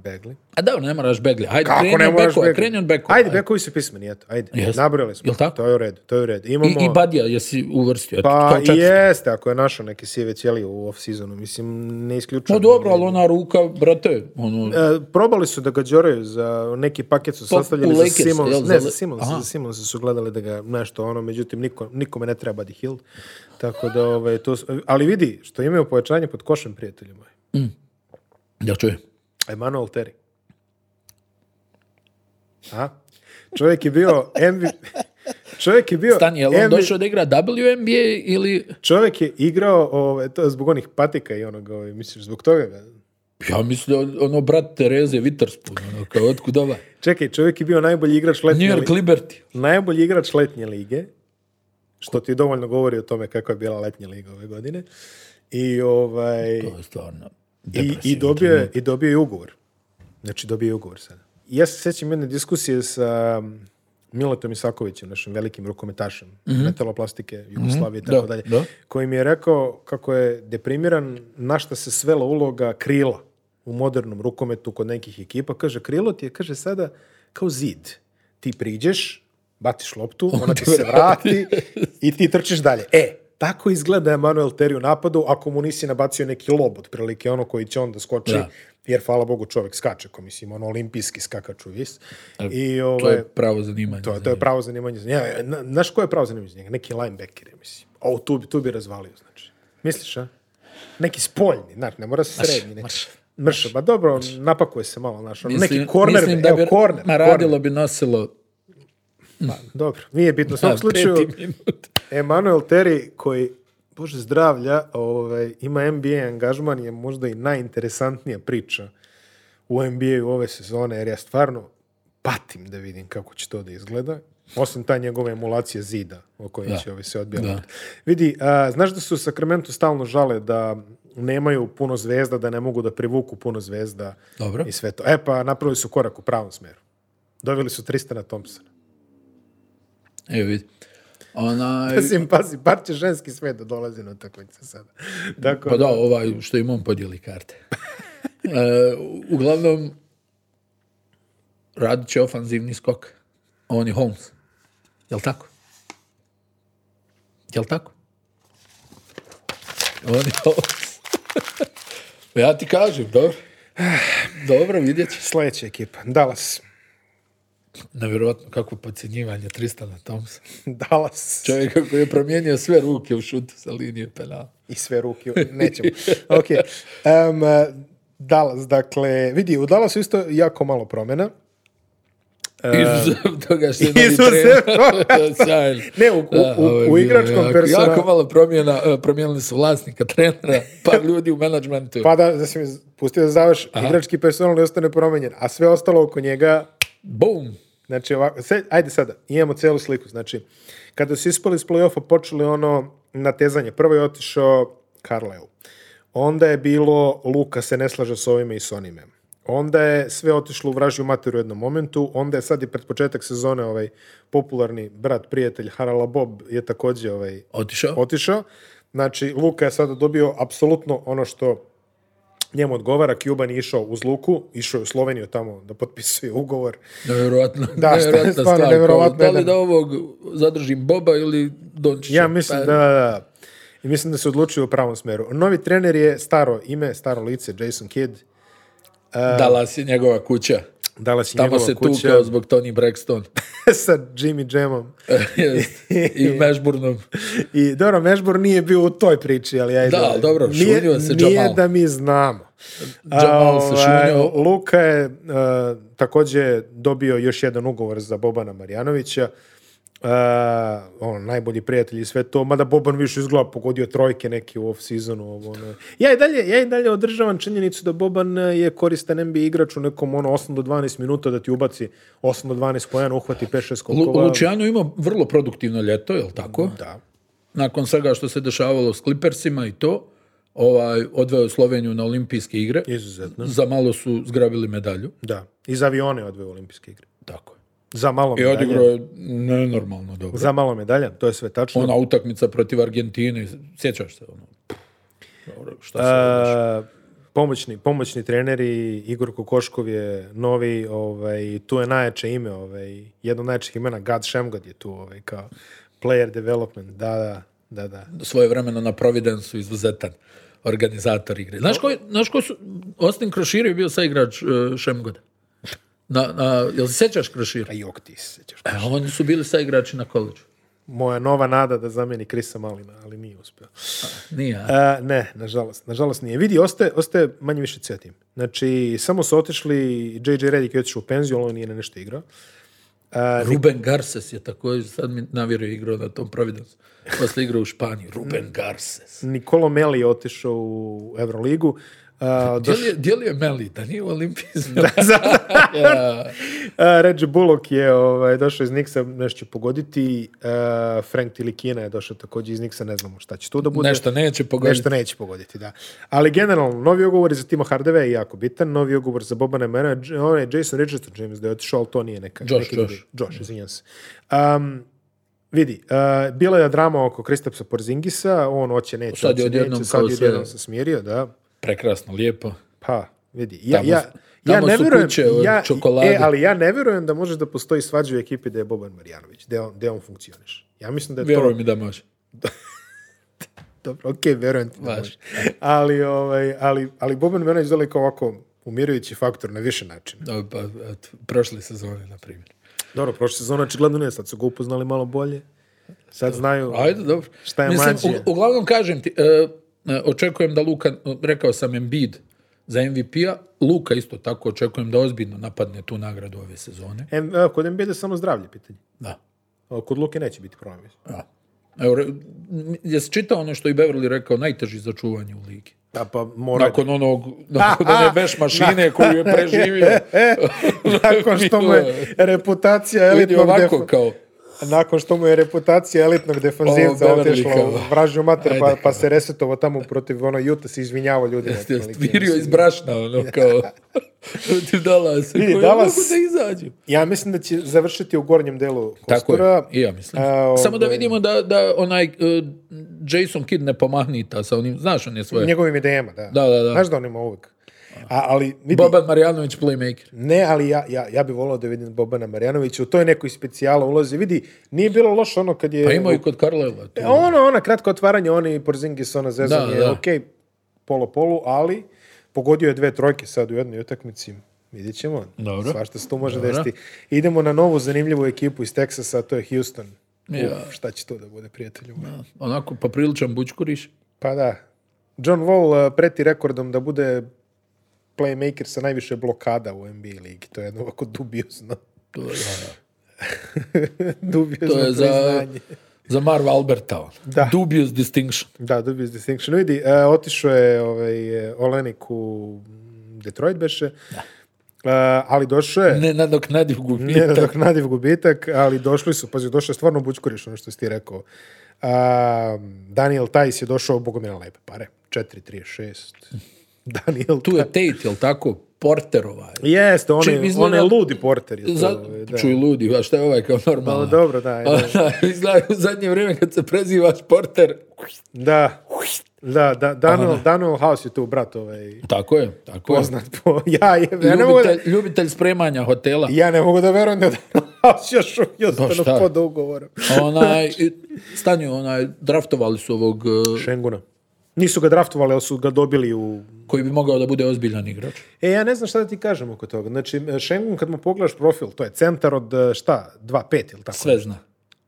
Bagley. A da, ne moraš beglje. Ajde, Kako kreni ne od moraš bekova, Bagley? kreni od bekova. Ajde, bekovi su pismeni, eto, ajde. Jes. Nabrali smo. Jel tako? To je u redu, to je u redu. I, Imamo... i Badija jesi uvrstio. eto, Pa kao četvrti. jeste, ako je našao neke sive ćelije u off-seasonu, mislim, ne isključujem. No dobro, ali ona ruka, brate, ono, E, probali su da ga đoraju za neki paket su sastavljeni u za Lakers, Simons, jel, ne za- za Simons, aha. za Simonsa su gledali da ga nešto ono, međutim niko, nikome ne treba Buddy Hill. Tako da ovaj to su- ali vidi što imaju pojačanje pod košem prijatelji moji. ja čujem. Emanuel Terry. A? Čovjek je bio MVP. Čovjek je bio Stani, je li on MVP došao da igra WNBA ili... Čovjek je igrao ovaj, to je zbog onih patika i onog, ovaj, misliš, zbog toga ga. Ja mislim, da ono, brat Tereze Witherspoon, ono, kao, otkud ovaj? Čekaj, čovjek je bio najbolji igrač letnje New li- York Liberty. najbolji igrač letnje lige, što ti dovoljno govori o tome kako je bila letnja liga ove godine. I, ovaj, To je stvarno i, i, depresivno. dobio, je- i dobio je ugovor. Znači, dobio je ugovor sada. I Ja se sjećam jedne diskusije sa Miletom Isakovićem, našim velikim rukometašem metaloplastike Jugoslavije i Mhm. Da, tako dalje, da. koji mi je rekao kako je deprimiran na šta se svela uloga krila u modernom rukometu kod nekih ekipa. Kaže, krilo ti je, kaže, sada kao zid. Ti priđeš, batiš loptu, ona ti se vrati i ti trčiš dalje. E, tako izgleda Emanuel Terry u napadu ako mu nisi nabacio neki lob, otprilike ono koji će onda skoči, Da. jer hvala Bogu čovjek skače, ko mislim, ono olimpijski skakač u vis. I, E, To ovaj, je pravo zanimanje. to, je- to je pravo zanimanje za njega. Na- Znaš ko je pravo zanimanje za njega? Neki linebacker, je, mislim. O, tu, bi- tu bi razvalio, znači. Misliš, a? Neki spoljni, znaš, ne mora se srednji. Neki. mrš, Mrša, ma dobro, napakuje se malo, znaš, ono, Mislim- neki korner, mislim evo, bi, korner, ma, korner. radilo bi nosilo Dobro, nije bitno. U na svakom slučaju, peti minut. Emanuel Terry koji Bože zdravlja, ovaj, ima NBA angažman je možda i najinteresantnija priča u NBA u ove sezone, jer ja stvarno patim da vidim kako će to da izgleda. Osim ta njegova emulacija zida o kojoj će ovi se odbijati. Vidi, a, znaš da su u Sakramentu stalno žale da nemaju puno zvezda, da ne mogu da privuku puno zvezda Dobro. i sve to. E pa, napravili su korak u pravom smjeru. Doveli su Tristana Thompsona. Evo vidi. Onaj, Mislim, pazi, bar će ženski svet da dolazi na utakmice sada. Dakle, pa da, ovaj što im on podijeli karte. E, uglavnom, radit će ofanzivni skok. On je Holmes. Jel tako? Jel tako? On je Holmes. ja ti kažem, dobro. Dobro, vidjet ćeš. sljedeća ekipa, Dallas. Nevjerojatno kakvo podcjenjivanje Tristana Thompsona. Dallas. Čovjeka koji je promijenio sve ruke u šutu sa linije penala. I sve ruke, nećemo. Ok. Em, eh, Dallas, dakle, vidi, u Dallasu isto jako malo promjena. Izuzev toga što je novi Izuzev trener. Sjajno. Ne, u, u, Da, u- ovo je u bilo igračkom jako, persona- Jako malo promjena, e, promijenili su vlasnika, trenera, par ljudi u menadžmentu. Pa da, da si mi pustio da završ, igrački personal ne ostane promijenjen, a sve ostalo oko njega, Boom! znači ovako, sve- ajde sada, imamo cijelu sliku, znači, kada su ispali iz play-offa, počeli ono natezanje, prvo je otišao Carlisle, onda je bilo Luka se ne slaže s ovime i s onime, onda je sve otišlo u vražju materu u jednom momentu, onda je sad i pred početak sezone ovaj popularni brat, prijatelj Harala Bob je također ovaj, Otišao? otišao. Znači, Luka je sada dobio apsolutno ono što njemu odgovara, Cuban je išao uz Luku, išao je u Sloveniju tamo da potpisuje ugovor. Nevjerojatno. Da, nevjerojatna stvarno stvar, nevjerojatno kao, Da li jedan. da ovog zadržim Boba ili Dončića? Ja mislim Pa, da, da. I mislim da se odlučio u pravom smeru. Novi trener je staro ime, staro lice, Jason Kidd. Dallas je Pa, njegova kuća. Dalas je Tamo njegova se kuća tukao zbog Tony Braxton. sa Jimmy Jamom. Jest. I Mashburnom. I dobro, Mešbor nije bio u toj priči, ali ajde. Da, ali dobro, šunio se nije Jamal. da mi znamo. Jamal se Ovaj, šunio. Luka je e, također dobio još jedan ugovor za Bobana Marjanovića. E, on, najbolji prijatelj i sve to, mada Boban više izgleda pogodio trojke neke u off-seasonu. ovo, ono. Ja i, dalje, ja i dalje održavam činjenicu da Boban e, je koristan NBA igrač u nekom ono 8 do 12 minuta da ti ubaci 8 do 12 pojena, uhvati 5-6 Lu- skokova. Luciano ima vrlo produktivno ljeto, je li tako? Da. Nakon svega što se dešavalo s Clippersima i to, ovaj, odveo je Sloveniju na olimpijske igre. Izuzetno. Za malo su zgrabili medalju. Da. Iz avione odveo u olimpijske igre. Tako je. Za malo I medalja. odigrao je Ono nenormalno dobro. Za malo medalja, to je sve tačno. Ona utakmica protiv Argentine, sjećaš se ono? pff, Dobro, šta se... E, pomoćni, pomoćni trener i Igor Kokoškov je novi, ovaj, tu je najjače ime, ovaj, jedno od najjačih imena, Gad Šemgad je tu, ovaj, kao player development, da, da, da, da. svoje vremeno na Providensu izuzetan organizator igre. Znaš ko, je- znaš ko su, Austin Krošir je bio sa igrač Šemgoda. Na, na, jel se sjećaš Krošira? A jok ti se sjećaš. E, oni su bili sa igrači na koleđu. Moja nova nada da zamijeni Krisa Malina, ali nije uspio. Nije, a? E, ne, nažalost, nažalost nije. Vidi, ostaje, ostaje manje više cetim. Znači, samo su otišli, JJ Redick je otišao u penziju, ali on nije na nešto igrao. E, Ruben Garces je također, sad mi navjeruje igrao na tom Providensu. Posle igrao u Španiji. Ruben Garces. Nikolo Meli je otišao u Euroligu. A, Gdje li je- Gdje li je Meli? Da nije u olimpizmu? a, Reggie Bullock je ovaj, došao iz Nixa, nešto će pogoditi. A, Frank Tilikina je došao također iz Nixa, ne znamo šta će tu da bude. Nešto neće pogoditi. Nešto neće pogoditi, da. Ali generalno, novi ugovor je za Timo Hardeve je jako bitan, novi ugovor za Bobana Mena, on je Jason Richardson, čini mi se da je otišao, ali to nije neka. Josh, neki Josh. drugi. Josh, izvinjam se. Um, vidi, uh, bila je drama oko Kristapsa Porzingisa, on hoće, neće, Sad je hoće, odjednom neće, sad kao je sve- odjednom se smirio, da. Prekrasno, lijepo. Pa, vidi, ja, Tamo- ja, ja tamo ne su vjerujem, kuće od ja, čokolade. e, ali ja ne vjerujem da može da postoji svađa u ekipi da je Boban Marjanović, da on, da on funkcioniš. Ja mislim da je Vjeruj to... mi da može. Dobro, okej, vjerujem ti da Važi. može. Ali, ovaj, ali, ali Boban Marjanović dole kao ovako umirujući faktor na više načina. Da, pa, eto, prošle sezone, na primjer. Dobro, prošle sezone očigledno ne, sad su ga upoznali malo bolje. Sad znaju Ajde, dobro. šta je Mislim, mađija. u- uglavnom kažem ti, e, e, očekujem da Luka, rekao sam Embiid za MVP-a, Luka isto tako očekujem da ozbiljno napadne tu nagradu ove sezone. Em, e, kod Embiida je samo zdravlje pitanje. Da. A Kod Luke neće biti problem. mislim. da. Evo, re- m, jesi čitao ono što je i Beverly rekao, najteži za čuvanje u ligi? Da, pa mora... Nakon onog, nakon one veš mašine koju je preživio. E, Nakon što mu je reputacija Vidi elitnog ovako defensa. kao, Nakon što mu je reputacija elitnog O, defanzivca Beverly otišla u Hills. vražju mater, pa, Ajde. pa se resetovao tamo protiv ono Juta, se izvinjavao ljudima. te otprilike, stvirio mislim. iz brašna, ono, kao, protiv Dallasa, Vidi, koji Dallas- ne mogu da izađu. Ja mislim da će završiti u gornjem delu Tako kostura. je, i ja mislim. A, Samo da ovaj, vidimo da, da onaj e, Jason Kidd ne pomahnita sa onim, znaš on je svoje. Njegovim idejama, da. Da, da, da. Znaš da on ima uvijek. A, ali vidi, Boban Marjanović playmaker. ne, ali ja, ja, ja bi volao da vidim Bobana Marjanovića u toj nekoj specijala ulozi. Vidi, nije bilo loše ono kad je... Pa imao i kod Carlisle. tu. Ono, ona kratko otvaranje, oni Porzingis, ono, ona zezanje, Da, da. ok, polo-polu, ali pogodio je dve trojke sad u jednoj utakmici. Vidjet ćemo. Dobro. Svašta se tu može Dobro. desiti. Idemo na novu zanimljivu ekipu iz Teksasa, a to je Houston. Ja. Uf, šta će to da bude, prijatelju? moji? Onako popriličan bučkuriš. Pa da. John Wall eh, preti rekordom da bude playmaker sa najviše blokada u NBA ligi. To je jedno ovako dubiozno. To je, dubiozno to je za, priznanje. za Marva Alberta. ono. Da. Dubious distinction. Da, dubious distinction. Vidi, eh, otišao je ovaj, eh, Olenik u Detroit beše, Eh, ali došao je... Ne nadoknadiv gubitak. Ne, nadoknadiv gubitak, ali došli su, pazi, došao je stvarno bučkuriš, ono što si ti rekao. A, Daniel Tajs je došao, boga mi na lepe pare, 4-3-6. Daniel Tu je Tate, jel tako? Porterova. Jeste, on Čim je, izgleda- on je ludi porter. je to, Za, ovaj, da. Čuj ludi, a šta je ovaj kao Ono, normalno? Pa dobro, da, je, da. Izgleda u zadnje vrijeme kad se prezivaš Porter, da. Da, da, Daniel, Daniel House je tu, brat, ovaj, Tako je, tako je. poznat po... Ja, je, ja, ne mogu da, Ljubitelj, ljubitelj spremanja hotela. ja ne mogu da verujem da je Daniel House još uvijek šta? ostano pod ugovorom. Onaj, i- stanju, onaj, draftovali su ovog eh, Šenguna. Nisu ga draftovali, ali su ga dobili u... koji bi mogao da bude ozbiljan igrač. E, ja ne znam šta da ti kažem oko toga. Znači, Šengun, kad mu pogledaš profil, to je centar od, eh, šta, 2-5 ili tako? Sve zna,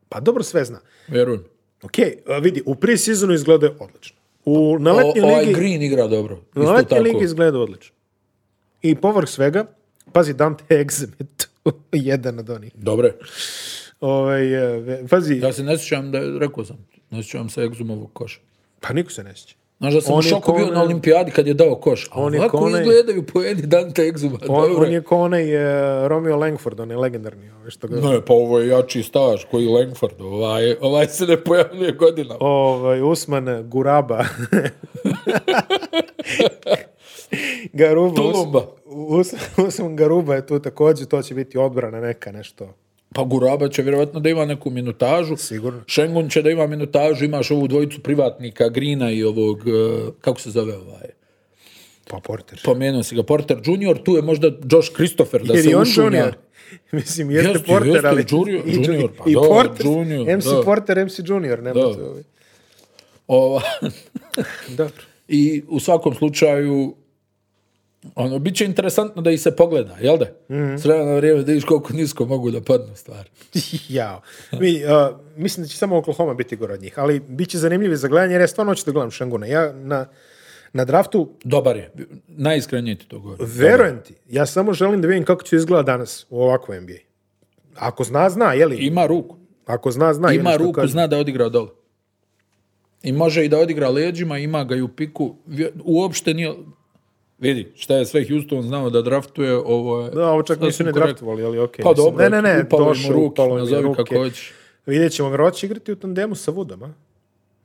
Pa dobro, sve zna. vjerujem. Ok, e, vidi, u pre-sezonu izgledao je odlično. U, na O, letnjoj ovaj ligi, Green igra dobro, na isto letnjoj tako. ligi izgledao odlično. I povrh svega, pazi, Dante Exhibit, jedan od onih. Dobre, Ovaj, eh, ve- pazi, ja se ne sjećam da, rekao sam, ne sjećam se Egzumovog koša. pa niko se ne sjeća. Znaš da sam On u je šoku ko bio onaj- na olimpijadi kad je dao koš. A On je ovako ko onaj- izgledaju pojedi Dante Exuma. On, Dobro. on je ko onaj eh, Romeo Langford, on je legendarni. Ovaj, što ga... Ne, pa ovo je jači staž koji Langford. Ovaj, ovaj se ne pojavljuje godinama. ovaj, Usman Guraba. Garuba. Tulumba. Us, Us- Usman Garuba je tu također, to će biti odbrana neka, nešto. Pa Guraba će vjerojatno da ima neku minutažu. Sigurno. Šengun će da ima minutažu. Imaš ovu dvojicu privatnika, Grina i ovog, eh, kako se zove ovaj, Pa Porter. pomenuo si ga, Porter Junior, tu je možda Josh Christopher da Jer se je on ušunja. junior. Mislim, jeste, Jeste, Porter, jeste, ali... junior, i, junior, pa i da, Porter, junior, MC da. Porter, MC Junior, nema Da. tu, ovaj. Ova, Dobro. I u svakom slučaju, ono, bit će interesantno da ih se pogleda, jel da? Mhm. S vremena na vrijeme da vidiš koliko nisko mogu da padnu stvari. Jao. Mi, a, mislim da će samo Oklahoma biti gore od njih, ali bit će zanimljivi za gledanje, jer ja stvarno hoću da gledam Šanguna. Ja na, na draftu Dobar je, najiskrenije ti to govorim. Verujem ti, ja samo želim da vidim kako će izgleda danas u ovakvoj NBA. Ako zna, zna, je li? Ima ruku, Ako zna, zna. je li, ima Ono što ruku, kažem. zna da odigra dole. I može i da odigra leđima, ima ga i u piku. Vje- Uopšte nije... Vidi, šta je sve Houston znao da draftuje, ovo je... Da, ovo čak sasvim nisu ne korektno. draftovali, ali okej. Pa mislim. dobro, ne, ne, ne, upalo im u došao, ruke, upalo im u nazovi ruke. kako hoćeš. Vidjet ćemo, vjerojatno će igrati u tandemu sa Woodom, a?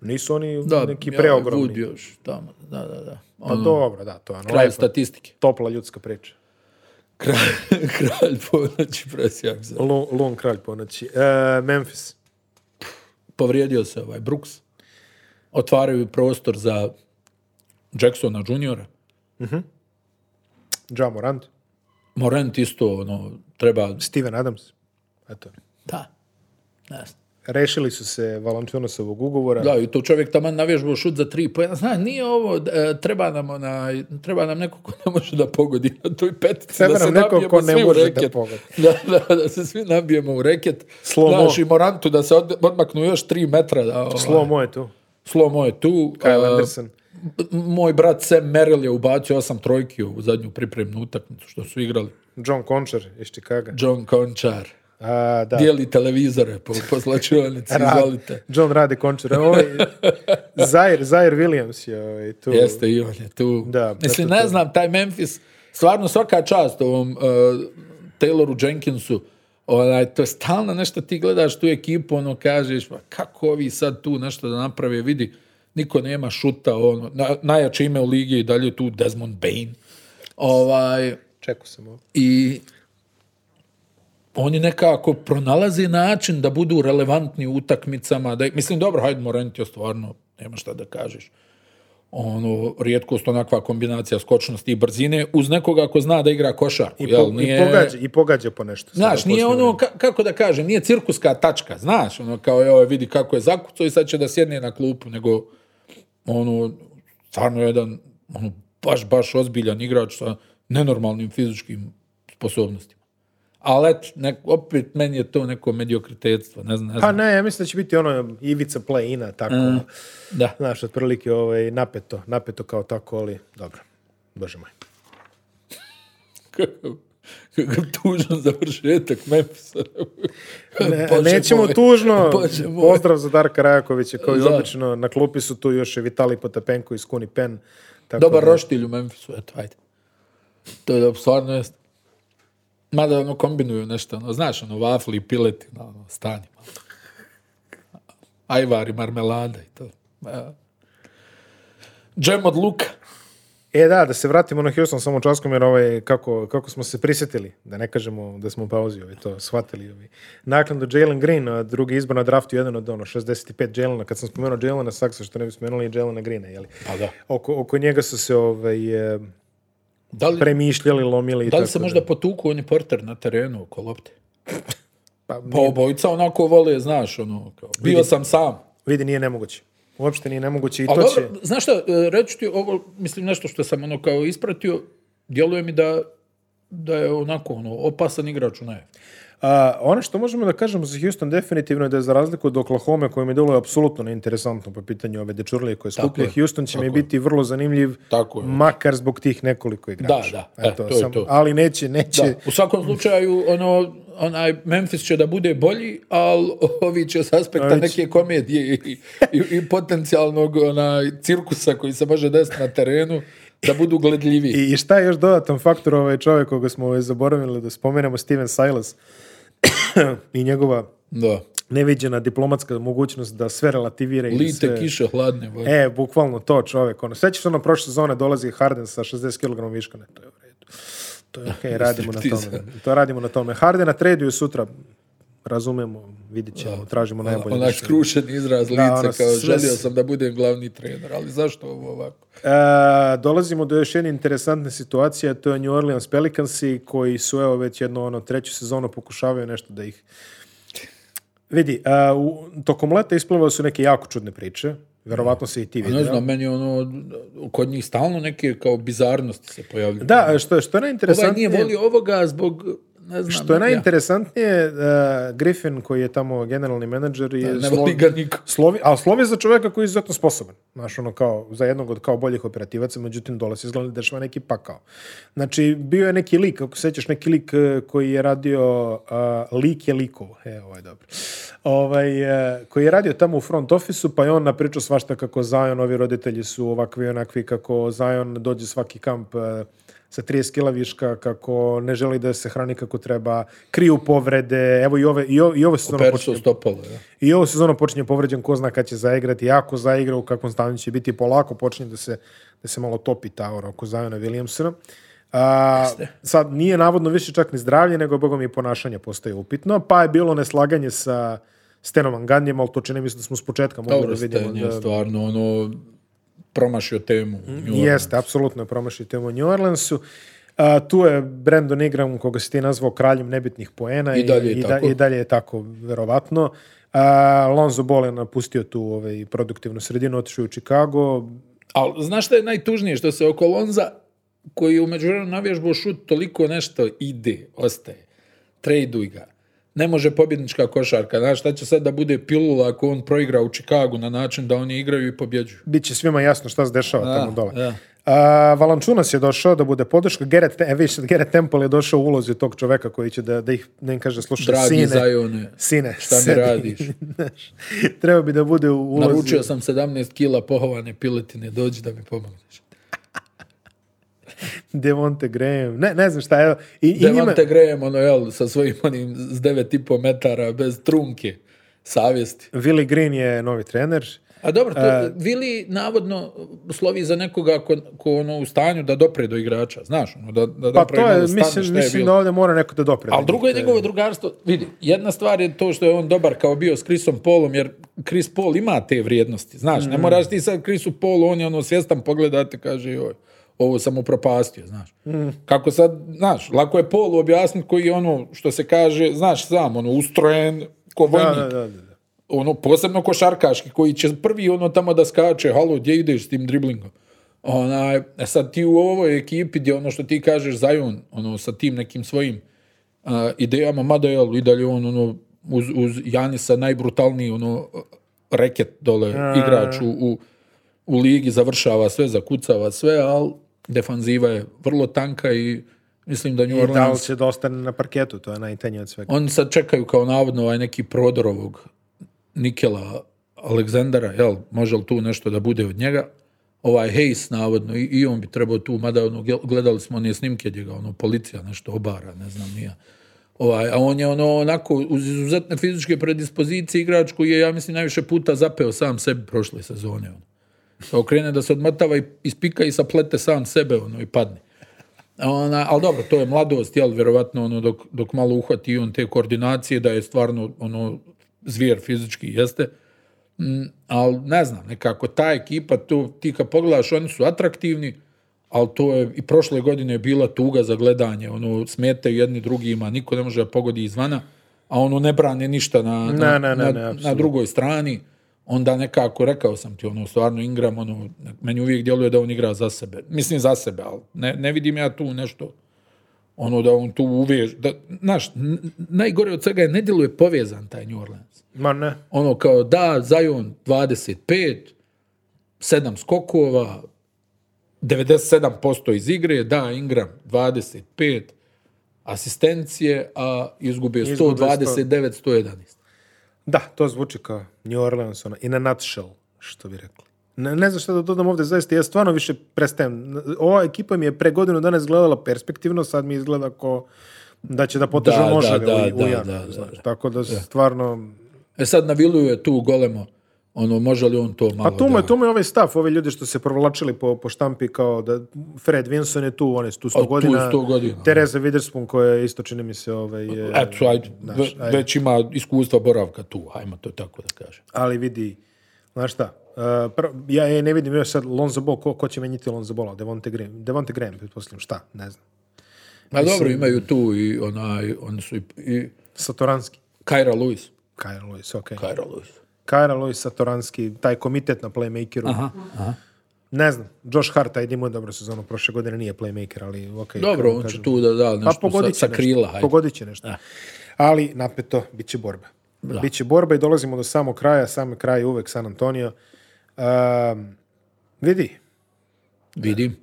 Nisu oni Da, neki ja, mm. preogromni. Wood još, tamo, da, da, da. Pa dobro, da, to je ono Kralj lepo, statistike. topla ljudska priča. Kralj, kralj ponoći presjak za... Lon, Lon kralj ponoći. E, Memphis. Povrijedio se ovaj Brooks. Otvaraju prostor za Jacksona juniora. Ja Morant. Morant isto, ono, treba... Steven Adams. Eto. Da. Ne znam. Rešili su se Valančunosovog ugovora. Da, i to čovjek taman navježbao šut za tri pojena. Zna, nije ovo, e, treba nam onaj, treba nam neko ko ne može da pogodi na toj petici. Treba da se nam neko nabijemo ko ne svi u može da reket. pogodi. Da, da, da se svi nabijemo u reket. Slow mo. Znaš, i Morantu da se od, odmaknu još tri metra. Da, ovaj, Slow mo je tu. Slomo je tu. Kyle a, Anderson. m- Moj brat Sam Merrill je ubacio osam trojki u zadnju pripremnu utakmicu što su igrali. John Conchar iz Čikaga. John Končar. A, da. Dijeli televizore po, po slačionici, Ra- izvolite. John Rade Končar. Ovaj, Zair, Zair Williams je ovaj, tu. Jeste, i on je tu. Da, Mislim, eto ne to. znam, taj Memphis, stvarno svaka čast ovom uh, Tayloru Jenkinsu, onaj, to je stalno nešto ti gledaš tu ekipu, ono, kažeš, pa kako ovi sad tu nešto da naprave, vidi, niko nema šuta, ono, na, najjače ime u ligi je i dalje tu Desmond Bain, ovaj, Čekao sam ovo. i oni nekako pronalaze način da budu relevantni u utakmicama. Da, mislim, dobro, hajde Morant je stvarno, nema šta da kažeš. Ono, rijetkost onakva kombinacija skočnosti i brzine uz nekoga ko zna da igra košarku. I, po- jel? i, pogađa, I pogađa po nešto. Znaš, Sada nije posljednje ono, ka- kako da kažem, nije cirkuska tačka, znaš, ono kao je vidi kako je zakucao i sad će da sjedne na klupu, nego ono, stvarno jedan ono, baš, baš ozbiljan igrač sa nenormalnim fizičkim sposobnostima. Ali eto, nek- opet meni je to neko mediokritetstvo, ne znam, ne Pa znam. ne, ja mislim da će biti ono ivica play-ina, tako. Mm. Da. Znaš, otprilike ovaj, napeto, napeto kao tako, ali dobro. Bože moj. Kakav, kakav tužan završetak Memphisa. Ne, Bože nećemo moj. tužno. Bože moj. Pozdrav za Darka Rajakovića, koji Da. obično na klupi su tu još i Vitali Potapenko iz Kuni Pen. Tako Dobar da- roštilj u Memphisu, eto, ajde. To je da stvarno jest. Mada ono kombinuju nešto, ono, znaš, ono, vafli i pileti na ono, stanje. malo. Ajvar i marmelada i to. E. Džem od luka. E da, da se vratimo na Houston samo časkom, jer ovaj, kako, kako smo se prisjetili, da ne kažemo da smo u pauzi, ovaj, to shvatili. Ovaj. Naknadno Jalen Green, a drugi izbor na draftu, jedan od ono, 65 Jelena, kad sam spomenuo Jelena Saksa, što ne bi spomenuli i Jelena Greena, jeli? Pa da. Oko, oko njega su se ovaj, e, Da li, premišljali, lomili i da li tako se možda potuku oni porter na terenu oko lopte? Pa, Pa obojica onako vole, znaš, ono, kao, bio sam sam. Vidi, nije nemoguće. Uopšte nije nemoguće i A to će... dobro, znaš šta, e, reći ti ovo, mislim nešto što sam ono kao ispratio, djeluje mi da, da je onako ono, opasan igrač u najavi. A, ono što možemo da kažemo za Houston definitivno je da je za razliku od Oklahoma koje mi deluje apsolutno neinteresantno po pitanju ove dečurlije koje skupljaju, je, Houston će mi biti vrlo zanimljiv Tako je. makar zbog tih nekoliko igrača. Da, da, e, to je to. Ali neće, neće. Da, u svakom slučaju, ono, onaj Memphis će da bude bolji, ali ovi će s aspekta Ovi će- neke komedije i, i, i potencijalnog onaj, cirkusa koji se može desiti na terenu, da budu gledljiviji. I, I šta je još dodatan faktor ovaj čovjek koga smo ovaj, zaboravili da spomenemo, Steven Silas i njegova Da. neviđena diplomatska mogućnost da sve relativira i da Lite, sve... kiše, hladne vode. E, bukvalno to čovjek. Ono. Sećaš se ono prošle sezone dolazi Harden sa 60 kg viška. Ne, to je u redu. To je okej, radimo na tome. Striptiza. To radimo na tome. Hardena traduju sutra. Razumemo, vidit ćemo, tražimo najbolje. Onaj rješenje. skrušen izraz lica, ono, kao sve želio s- sam da budem glavni trener, ali zašto ovo ovako? E, dolazimo do još jedne interesantne situacije, a to je New Orleans Pelicansi koji su evo već jedno ono treću sezonu pokušavaju nešto da ih vidi. e, u, tokom leta isplivao su neke jako čudne priče. Verovatno se i ti vidio. Ne znam, meni je ono, kod njih stalno neke kao bizarnosti se pojavljuju. Da, što, što je najinteresantnije... Ovaj nije volio ovoga zbog, ne znam, Što je ja. najinteresantnije, eh, Griffin koji je tamo generalni menadžer je Ne voli ga niko. slovi, a slovi za čovjeka koji je izuzetno sposoban. Znaš, ono kao, za jednog od kao boljih operativaca, međutim dolazi izgleda da dešava neki pakao. Znači, bio je neki lik, ako se sjećaš, neki lik eh, koji je radio, eh, lik je likovo, e, ovo je dobro, ovaj, eh, koji je radio tamo u front ofisu, pa je on napričao svašta kako Zion, ovi roditelji su ovakvi i onakvi, kako Zion dođe svaki kamp eh, sa 30 kila viška, kako ne želi da se hrani kako treba, kriju povrede, evo i ove, i ove, i ove ono sezono Perso počinje, stopalo, ja. i ovo sezono počinje povređen, ko zna kad će zaigrati, jako zaigra, u kakvom stanju će biti, polako počinje da se, da se malo topi ta aura oko Zajona Williamsona. A, sad nije navodno više čak ni zdravlje, nego bogom i ponašanje postaje upitno, pa je bilo neslaganje sa Stenom Anganjem, ali to čini mi se da smo s početka mogli Dobro da vidimo. stajanje, da- Mm, stvarno, ono, promašio temu. New Jeste, apsolutno je promašio temu u New Orleansu. A, tu je Brandon Ingram, koga si ti nazvao kraljem nebitnih poena. I dalje je da- tako. I dalje je tako, verovatno. A, Lonzo Ball je napustio tu ovaj, produktivnu sredinu, otišao je u Chicago. Ali znaš šta je najtužnije? Što se oko Lonza, koji je umeđu vremenu navježbao šut, toliko nešto ide, ostaje. Trejduj ga. Ne može pobjednička košarka. Znaš šta će sad da bude pilula ako on proigra u Čikagu na način da oni igraju i pobjeđuju? Biće svima jasno šta se dešava Pa tamo dole. da. A, Valančunas je došao da bude podrška. Gerrit, e, vidiš, Gerrit Temple je došao u ulozi tog čoveka koji će da, da, ih, da im kaže, slušaj, Dragi sine, Zajone, sine, šta mi sedi. radiš? Znaš, Treba bi da bude u ulozi. Naručio sam 17 kila pohovane piletine, dođi da mi pomogneš. Devonte Graham, ne, ne znam šta, evo. I, i njima- Devante Graham, ono, jel, sa svojim onim s 9,5 metara, bez trunke, savjesti. Willi Green je novi trener. A dobro, to, E- Vili navodno slovi za nekoga ko, ko ono u stanju da dopre do igrača, znaš, ono, da, da Pa napravi to malo je, stanje, šta mislim, je mislim bilo. da ovdje mora neko da dopre. Ali drugo je njegovo drugarstvo, vidi, jedna stvar je to što je on dobar kao bio s Chrisom Paulom, jer Chris Paul ima te vrijednosti, znaš, Mhm. ne moraš ti sad Chrisu Paulu, on je ono svjestan pogledati, kaže, joj, ovo sam upropastio, znaš. Mhm. Kako sad, znaš, lako je Paulu objasniti koji je ono, što se kaže, znaš, sam, ono, ustrojen, ko Da, vojnik, da, da, da. ono, posebno košarkaški, koji će prvi ono tamo da skače, halo, gdje ideš s tim driblingom? Onaj, e sad ti u ovoj ekipi gdje ono što ti kažeš Zion, ono, sa tim nekim svojim a, idejama, mada je i dalje on, ono, uz, uz Janisa najbrutalniji, ono, reket dole, E. igrač u, u, u ligi, završava sve, zakucava sve, ali defanziva je vrlo tanka i mislim da New I da li Orleans će da ostane na parketu, to je najtanje od svega. oni sad čekaju kao navodno ovaj neki Prodorovog Nikela Aleksandara, jel, može li tu nešto da bude od njega? Ovaj Hayes navodno, i, i on bi trebao tu, mada ono, gel- gledali smo one snimke gdje ga ono, policija nešto obara, ne znam nija. Ovaj, a on je ono onako, uz izuzetne fizičke predispozicije, igrač koji je, ja mislim, najviše puta zapeo sam sebi prošle sezone. Ono. Se okrene da se odmrtava i ispika i saplete sam sebe ono, i padne. Ona, ali dobro, to je mladost, jel, vjerovatno, ono, dok, dok malo uhvati on te koordinacije, da je stvarno, ono, zvijer fizički jeste. Mm, ali ne znam, nekako ta ekipa, tu, ti kad pogledaš, oni su atraktivni, ali to je i prošle godine je bila tuga za gledanje, ono, smetaju jedni drugima, niko ne može da pogodi izvana, a ono ne brane ništa na, na, Ne, ne, ne, na- ne, na apsolutno. drugoj strani, onda nekako, rekao sam ti, ono, stvarno Ingram, ono, meni uvijek djeluje da on igra za sebe, mislim za sebe, ali ne, ne vidim ja tu nešto, ono, da on tu uvež, da, znaš, n- najgore od svega je, ne djeluje povezan taj New Orleans Ma ne. ono kao da, Zion 25, 7 skokova, 97% iz igre, da, Ingram 25, asistencije, a izgube Izgube 129, 111. Da, to zvuči kao New Orleans, ono, in a nutshell, što bi rekli. Ne, ne znam šta da dodam ovdje, zaista, ja stvarno više prestajem. Ova ekipa mi je pre godinu dana izgledala perspektivno, sad mi izgleda ko da će da poteže Da, da, moževe da, u, u da, janu, da, da, znaš. Tako da, stvarno... E sad naviluje tu golemo, ono, može li on to malo A tu mu da- je, tu mu je ovaj stav, ove ljudi što se provlačili po, po štampi kao da Fred Vinson je tu, on je tu 100 tu je godina. 100 godina. Tereza Witherspoon koja je isto čini mi se ovaj... je- Eto, ajde, znaš, ve- ajde. već ima iskustva boravka tu, ajmo to tako da kažem. ali vidi, znaš šta, e, pr- ja je ne vidim još sad Lonzo Ball, ko, ko će menjiti Lonzo Balla, Devonte Graham, Devonte Graham, pretpostavljam, šta, ne znam, Ma dobro, imaju tu i onaj, oni su i, i Satoranski, Kajra Lewis. Kajra Lewis, ok. Kajra Lewis. Kajra Lewis, Satoranski, taj komitet na playmakeru, Aha, aha. ne znam, Josh Hart, ajde imao dobro sezonu, prošle godine nije playmaker, ali ok. Dobro, on će tu da da nešto sa, sa krila. Pa Nešto, hajde. pogodit će nešto. Ali napeto, bit će borba. Da. Bit će borba i dolazimo do samog kraja, sam kraj je uvek San Antonio. Um, vidi, Vidim.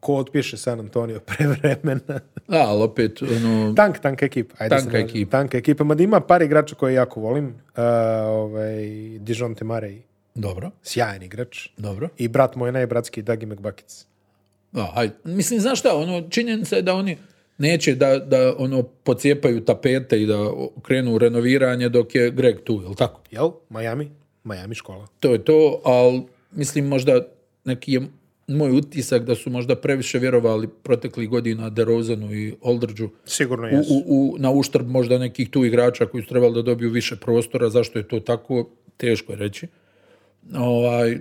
ko otpiše San Antonio pre vremena. Da, ali opet, ono, Tank, tanka ekipa. Ajde Tanka se nađemo. ekipa. Tanka ekipa. Mada ima par igrača koje jako volim. Uh, ovaj, Dijon Temarei, dobro, sjajan igrač. dobro. I brat moj najbratski, Dagi McBuckets. Da, hajde. Mislim, znaš šta, ono, činjenica je da oni neće da, da ono, pocijepaju tapete i da o- krenu u renoviranje dok je Greg tu, jel tako? Jel? Miami? Miami škola. To je to, ali mislim možda neki je moj utisak da su možda previše vjerovali proteklih godina DeRozanu i Aldridgeu Sigurno u, jesu. u, u, na uštrb možda nekih tu igrača koji su trebali da dobiju više prostora, zašto je to tako, teško je reći. Ovaj,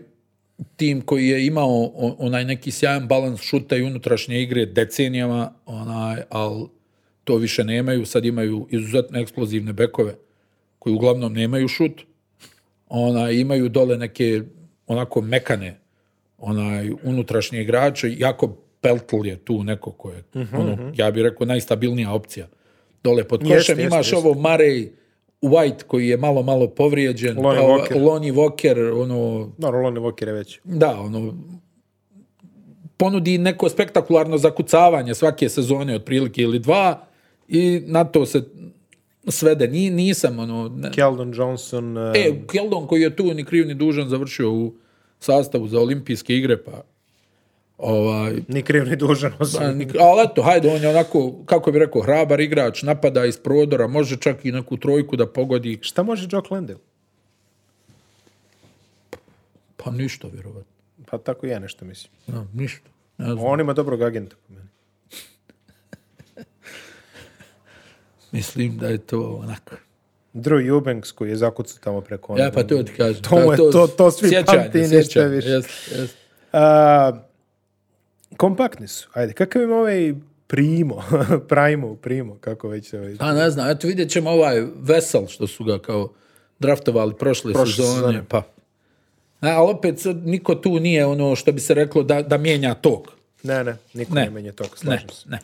tim koji je imao o- onaj neki sjajan balans šuta i unutrašnje igre decenijama, onaj, ali to više nemaju, sad imaju izuzetno eksplozivne bekove koji uglavnom nemaju šut, onaj, imaju dole neke onako mekane onaj unutrašnje igrače, jako Peltl je tu neko ko je, Mhm, ono, ja bih rekao, najstabilnija opcija. Dole pod košem Jeste, jeste, imaš jeste. ovo Murray White koji je malo, malo povrijeđen. Lonnie pa ova- Walker. Lonnie Walker, ono, No, Roland Walker je već. da, ono, ponudi neko spektakularno zakucavanje svake sezone, otprilike ili dva, i na to se svede. Ni, nisam, ono... Ne, Keldon Johnson. uh, e, Keldon koji je tu ni kriv ni dužan završio u sastavu za olimpijske igre, pa ovaj, Ni kriv, ni dužan. osim- a, ni- ali eto, hajde, on je onako, kako bi rekao, hrabar igrač, napada iz prodora, može čak i neku trojku da pogodi. Šta može Jock Landale? Pa ništa, vjerovatno. Pa tako i ja nešto mislim. Ja, ništa. Ne znam. On ima dobrog agenta po meni. Mislim da je to onako. Drew Eubanks koji je zakucao tamo preko Ja onoga. pa to ti kažem. To mu je- to- to svi pamti i ništa sjećanje, više. jeste, jeste. A, kompaktni su. Ajde, kakav im ovaj primo, primo, primo, kako već ovaj... Pa ne znam, eto vidjet ćemo ovaj Vesel što su ga kao draftovali prošle, Prošle sezone. sezone. Pa. A, ali opet sad niko tu nije ono što bi se reklo da, da mijenja tok. Ne, ne, niko Ne. ne, menja toga, Ne, slažem se. ne.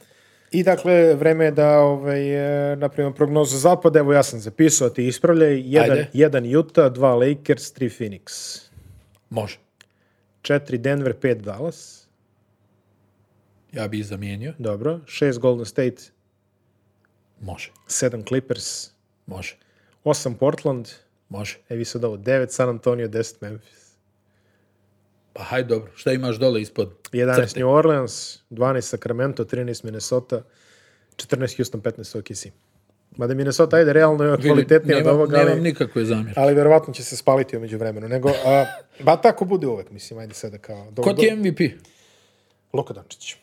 I dakle, vreme je da, ovaj, e, napravimo prognozu zapada, evo ja sam zapisao, ti ispravljaj, jedan, Ajde. jedan Utah, dva Lakers, tri Phoenix, Može. četiri Denver, pet Dallas, Ja bi ih zamijenio. dobro, šest Golden State, Može. sedam Clippers, Može. osam Portland, Može. e vi sad ovo, devet San Antonio, deset Memphis, Pa haj dobro. Šta imaš dole ispod? 11 crte? New Orleans, 12 Sacramento, 13 Minnesota, 14 Houston, 15 OKC. Mada Minnesota, ajde, realno je kvalitetnija od nemam, ovoga, nemam ali, nikakve zamjerke. ali verovatno će se spaliti umeđu vremenu. Nego, a, ba tako bude uvek, mislim, ajde sada kao... Do, Ko ti je do- MVP? Luka Dončić.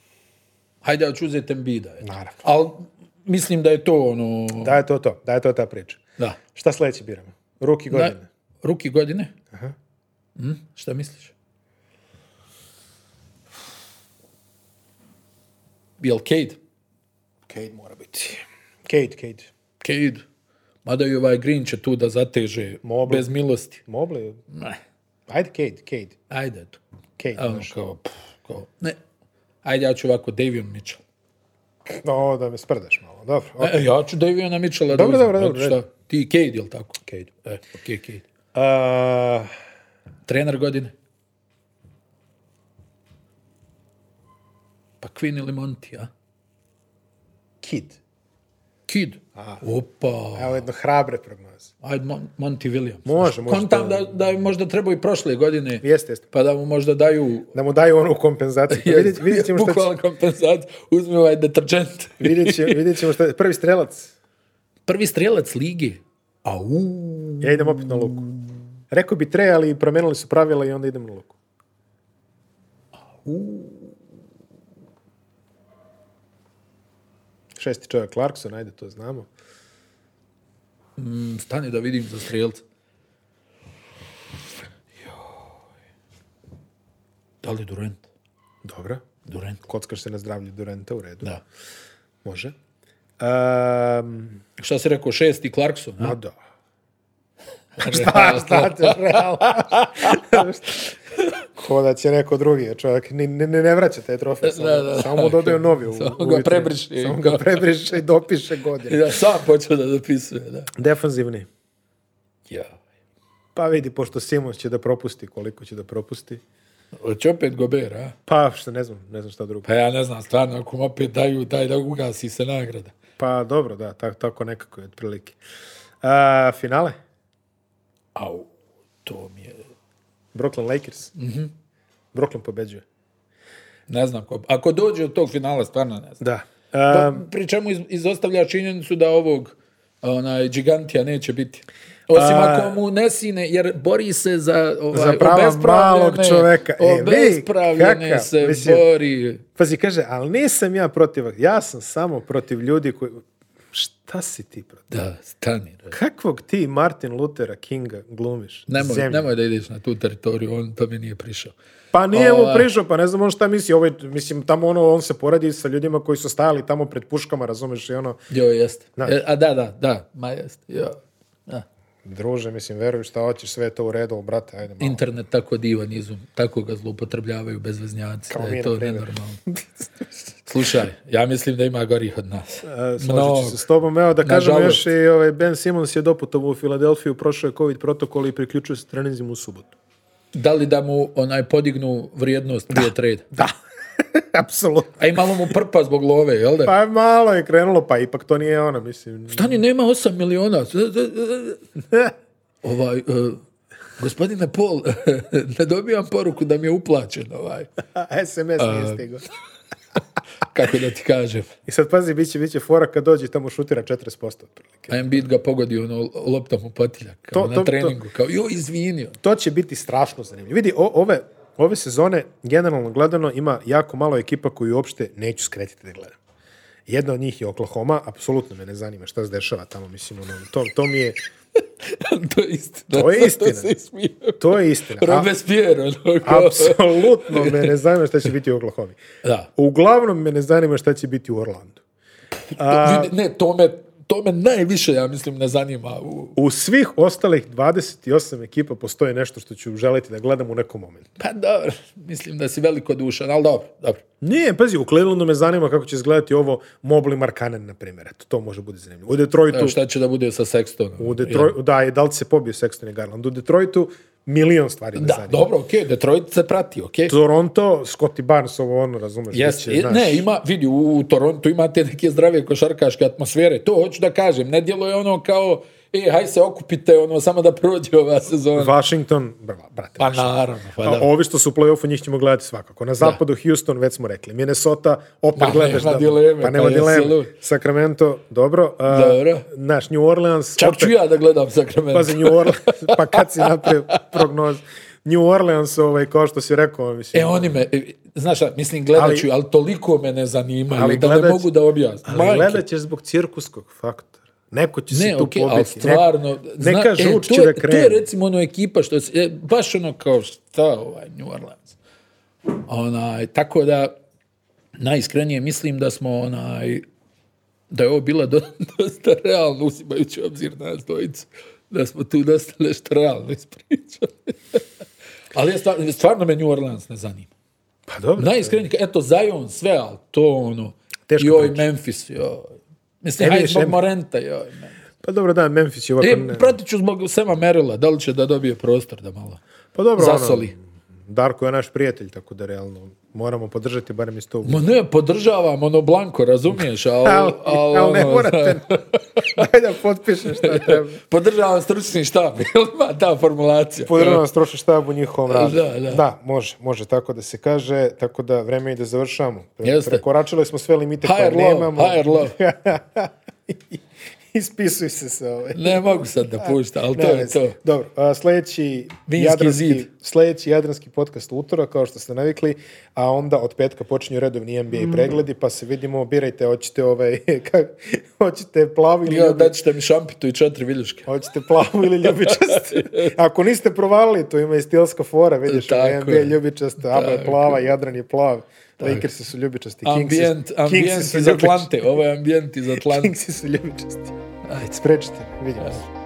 Hajde, ja ću uzeti Embida. Naravno. Ali mislim da je to ono... Da je to to, da je to ta priča. Da. Šta sledeće biramo? Ruki da. godine. Ruki godine? Mhm, šta misliš? Jel Cade? Cade mora biti. Cade, Cade. Cade. Mada i ovaj Green će tu da zateže Mobley. bez milosti. Mobley? Ne. Ajde, Cade, Cade. Ajde, eto. Cade, Ono znaš. kao, pff, kao, ne. Ajde, ja ću ovako, Davion Mitchell. O, da me sprdaš malo. Dobro, ok. E, ja ću Daviona Mitchella Dobro, da uzmem. dobro, zato dobro, šta? ajde. Ti Cade, jel tako? Cade. E, okej, Cade. A, Trener godine? Pa Quinn ili Monty, a? Kid. Kid. Opa. Evo jedno hrabre prognoze. Ajde, Mon- Monty Williams. Može, može Kontam to. da, da je možda trebao i prošle godine, Jeste, jeste. pa da mu možda daju... Da mu daju onu kompenzaciju. Pa vidjet, vidjet ćemo šta će... Bukvalno kompenzaciju. Uzmi ovaj deterđent. Vidjet ćemo, vidjet ćemo šta... Prvi strelac. Prvi strelac lige. Au. Ja idem opet na luku. Rekao bi tre, ali promenili su pravila i onda idem na luku. Šesti čovjek Clarkson, ajde, to znamo. Mm, Stani da vidim za strelca. Joj. Da li Durant? Dobro. Durant. Kockaš se na zdravlje Durenta, u redu. Da. Može. Um, Šta si rekao, šesti Clarkson? a? a da. šta, šta te realno? Ko da će neko drugi, čovjek ni, ni, ni ne vraća te trofeje, samo, Da, da, samo mu dodaju novi. U, Samo u ga vitrinu. prebriše i Samo kao- ga prebriše i dopiše godine. Ja sam počeo da zapisuje, da. Defanzivni. Ja. Pa vidi, pošto Simons će da propusti, koliko će da propusti. Hoće opet Gober, a? Pa, što ne znam, ne znam šta drugo. Pa ja ne znam, stvarno, ako mu opet daju, daj da ugasi se nagrada. Pa dobro, da, ta- tako nekako je otprilike. A, finale? Au, to mi je... Brooklyn Lakers? Mhm. Brooklyn pobeđuje. Ne znam ko... Ako dođe od tog finala, stvarno ne znam. Da. Pa, A, pri čemu iz, izostavlja činjenicu da ovog onaj gigantija neće biti. Osim A- ako mu ne sine, jer bori se za ovaj, Pa- Za prava obespravljene- malog čoveka. E, vidi, obespravljene kakav, se mislim- bori. Pazi, kaže, ali nisam ja protiv, ja sam samo protiv ljudi koji... Šta si ti protiv? Da, stani. re. Kakvog ti Martin Luthera Kinga glumiš? Nemoj, Zemlju. nemoj da ideš na tu teritoriju, on to mi nije prišao. Pa nije mu Ovaj. prišao, pa ne znam on šta misli. Ovaj, mislim, tamo ono, on se poradi sa ljudima koji su stajali tamo pred puškama, razumeš, i ono, Jo, jeste. Znaš. E, a da, da, da, ma jeste. Jo. Da. druže, mislim, veruj šta hoćeš, sve je to u redu, ali, brate, ajde malo. Internet tako divan izum, tako ga zloupotrebljavaju bezveznjaci, Kao da mi, je na to primjer. nenormalno. Slušaj, ja mislim da ima gorih od nas. E, Složit Mnogo. ću se s tobom. Evo da kažem Nažalost. još i ovaj, Ben Simmons je doputovao u Filadelfiju, prošao je COVID protokol i priključio se trenizima u subotu. Da li da mu onaj podignu vrijednost prije trade? Da, apsolutno. A i malo mu prpa zbog love, jel da? Pa malo je krenulo, pa ipak to nije ono, mislim. Stani, nema 8 miliona. Ovaj, e, gospodine Paul, ne dobijam poruku da mi je uplaćen ovaj. SMS E, nije stigao. Kako da ti kažem. I sad pazi, bit će, bit će fora kad dođe i tamo šutira 40% otprilike. A Embiid ga pogodi ono loptom u potiljak, kao To- na to- to- treningu, kao joj, ono. izvinio. To će biti strašno zanimljivo. Vidi, o- ove, ove sezone, generalno gledano, ima jako malo ekipa koju uopšte neću skretiti da gledam. Jedna od njih je Oklahoma, apsolutno me ne zanima šta se dešava tamo, mislim, ono, to, to mi je, to je istina. To je istina. Zato se ismijao. to je istina. A- Robespierre, ono kao. apsolutno me ne zanima šta će biti u Oklahoma. Da. Uglavnom me ne zanima šta će biti u Orlandu. To- vidi, ne, to me, to me najviše, ja mislim, ne zanima. u- U svih ostalih 28 ekipa postoji nešto što ću želiti da gledam u nekom momentu. Pa dobro, mislim da si veliko dušan, ali dobro, dobro. Nije, pazi, u Clevelandu me zanima kako će izgledati ovo Mobley Markanen, na primjer. Eto, to može biti zanimljivo. U Detroitu, Evo, šta će da bude sa Sextonom? u Detroitu da, je, da li se pobio Sexton i Garland? U Detroitu milion stvari me Da, zanima. dobro, okej, Detroit se prati, okej. Toronto, Scotty Barnes, ovo ono, razumeš? bit Jeste, će, znaš, ne, ima, vidi, u, u Torontu imate neke zdrave košarkaške atmosfere, to hoću da kažem, ne djeluje ono kao, e, haj se okupite, ono, samo da prođe ova sezona. Washington, bra- brate. Pa naravno, pa da. A ovi što su u play-offu, njih ćemo gledati svakako. Na zapadu Houston, već smo rekli. Minnesota, opet Ma, gledaš. nema da- dileme, pa nema pa jesi dileme. lud. Sacramento, dobro. A, Dobro. Naš New Orleans. Čak opet- ću ja da gledam Sacramento. Pazi, New Orleans, pa kad si napravio prognoz. New Orleans, ovaj, kao što si rekao, mislim. E, oni me, e, znaš šta, mislim, gledat Ali- ću, ali toliko me ne zanimaju Ali da ne gledat- mogu da objasnim. Majke. ali gledat ćeš zbog cirkuskog faktora. Neko će se Ne, tu okej, ali pobiti. stvarno... Ne, neka e, žuč to će je- da To krene. je recimo ono ekipa što... se- E, baš ono kao šta ovaj New Orleans. Onaj, tako da najiskrenije mislim da smo onaj da je ovo bila do- dosta realno uzimajući u obzir nas dvojicu da smo tu dosta nešto realno ispričali ali ja stvarno, stvarno me New Orleans ne zanima Pa dobro. najiskrenije eto Zion sve ali to ono Teško joj priče. Memphis joj mislim Ne hajde vidiš, zbog ne- Morenta joj Memphis. Pa dobro, da, Memphis je ovako... E, ne- pratit ću zbog Sema Merila, da li će da dobije prostor da malo. Pa dobro, ono, Zasoli. Darko je naš prijatelj, tako da realno moramo podržati barem iz tog. Ma ne, podržavam ono blanko, razumiješ, ali... Ali, ali ali ne ono, morate. Daj da potpišeš šta treba. Podržavam stručni štab, jel ima ta formulacija? Podržavam stručni štab u njihovom radu. Da, da. može, može tako da se kaže, tako da vreme je da završamo. Pre- Jeste. Prekoračili smo sve limite koje Higher love, nemamo. higher love. Ispisuj se sa ove. Ne mogu sad da pušta, ali to je to. Dobro, a, sljedeći Vinski jadranski, zid. sljedeći jadranski podcast u utorak, kao što ste navikli, a onda od petka počinju redovni NBA Mm. pregledi, pa se vidimo, birajte, hoćete ovaj, kak, hoćete plavu ili Ja, ljubi- da ćete mi šampitu i četiri viljuške. Hoćete plavu ili ljubičastu? Ako niste provalili, to ima i stilska fora, vidiš, Tako NBA je. ljubičasta, ABA je plava, Jadran je plav, Lakersi su ljubičasti, Kingsi, Ambijent, ambijent Kingsi su iz ljubičasti. Atlante, ovo je ambijent iz Atlante. Kingsi su ljubičasti. Ajde. Sprečite, vidimo se.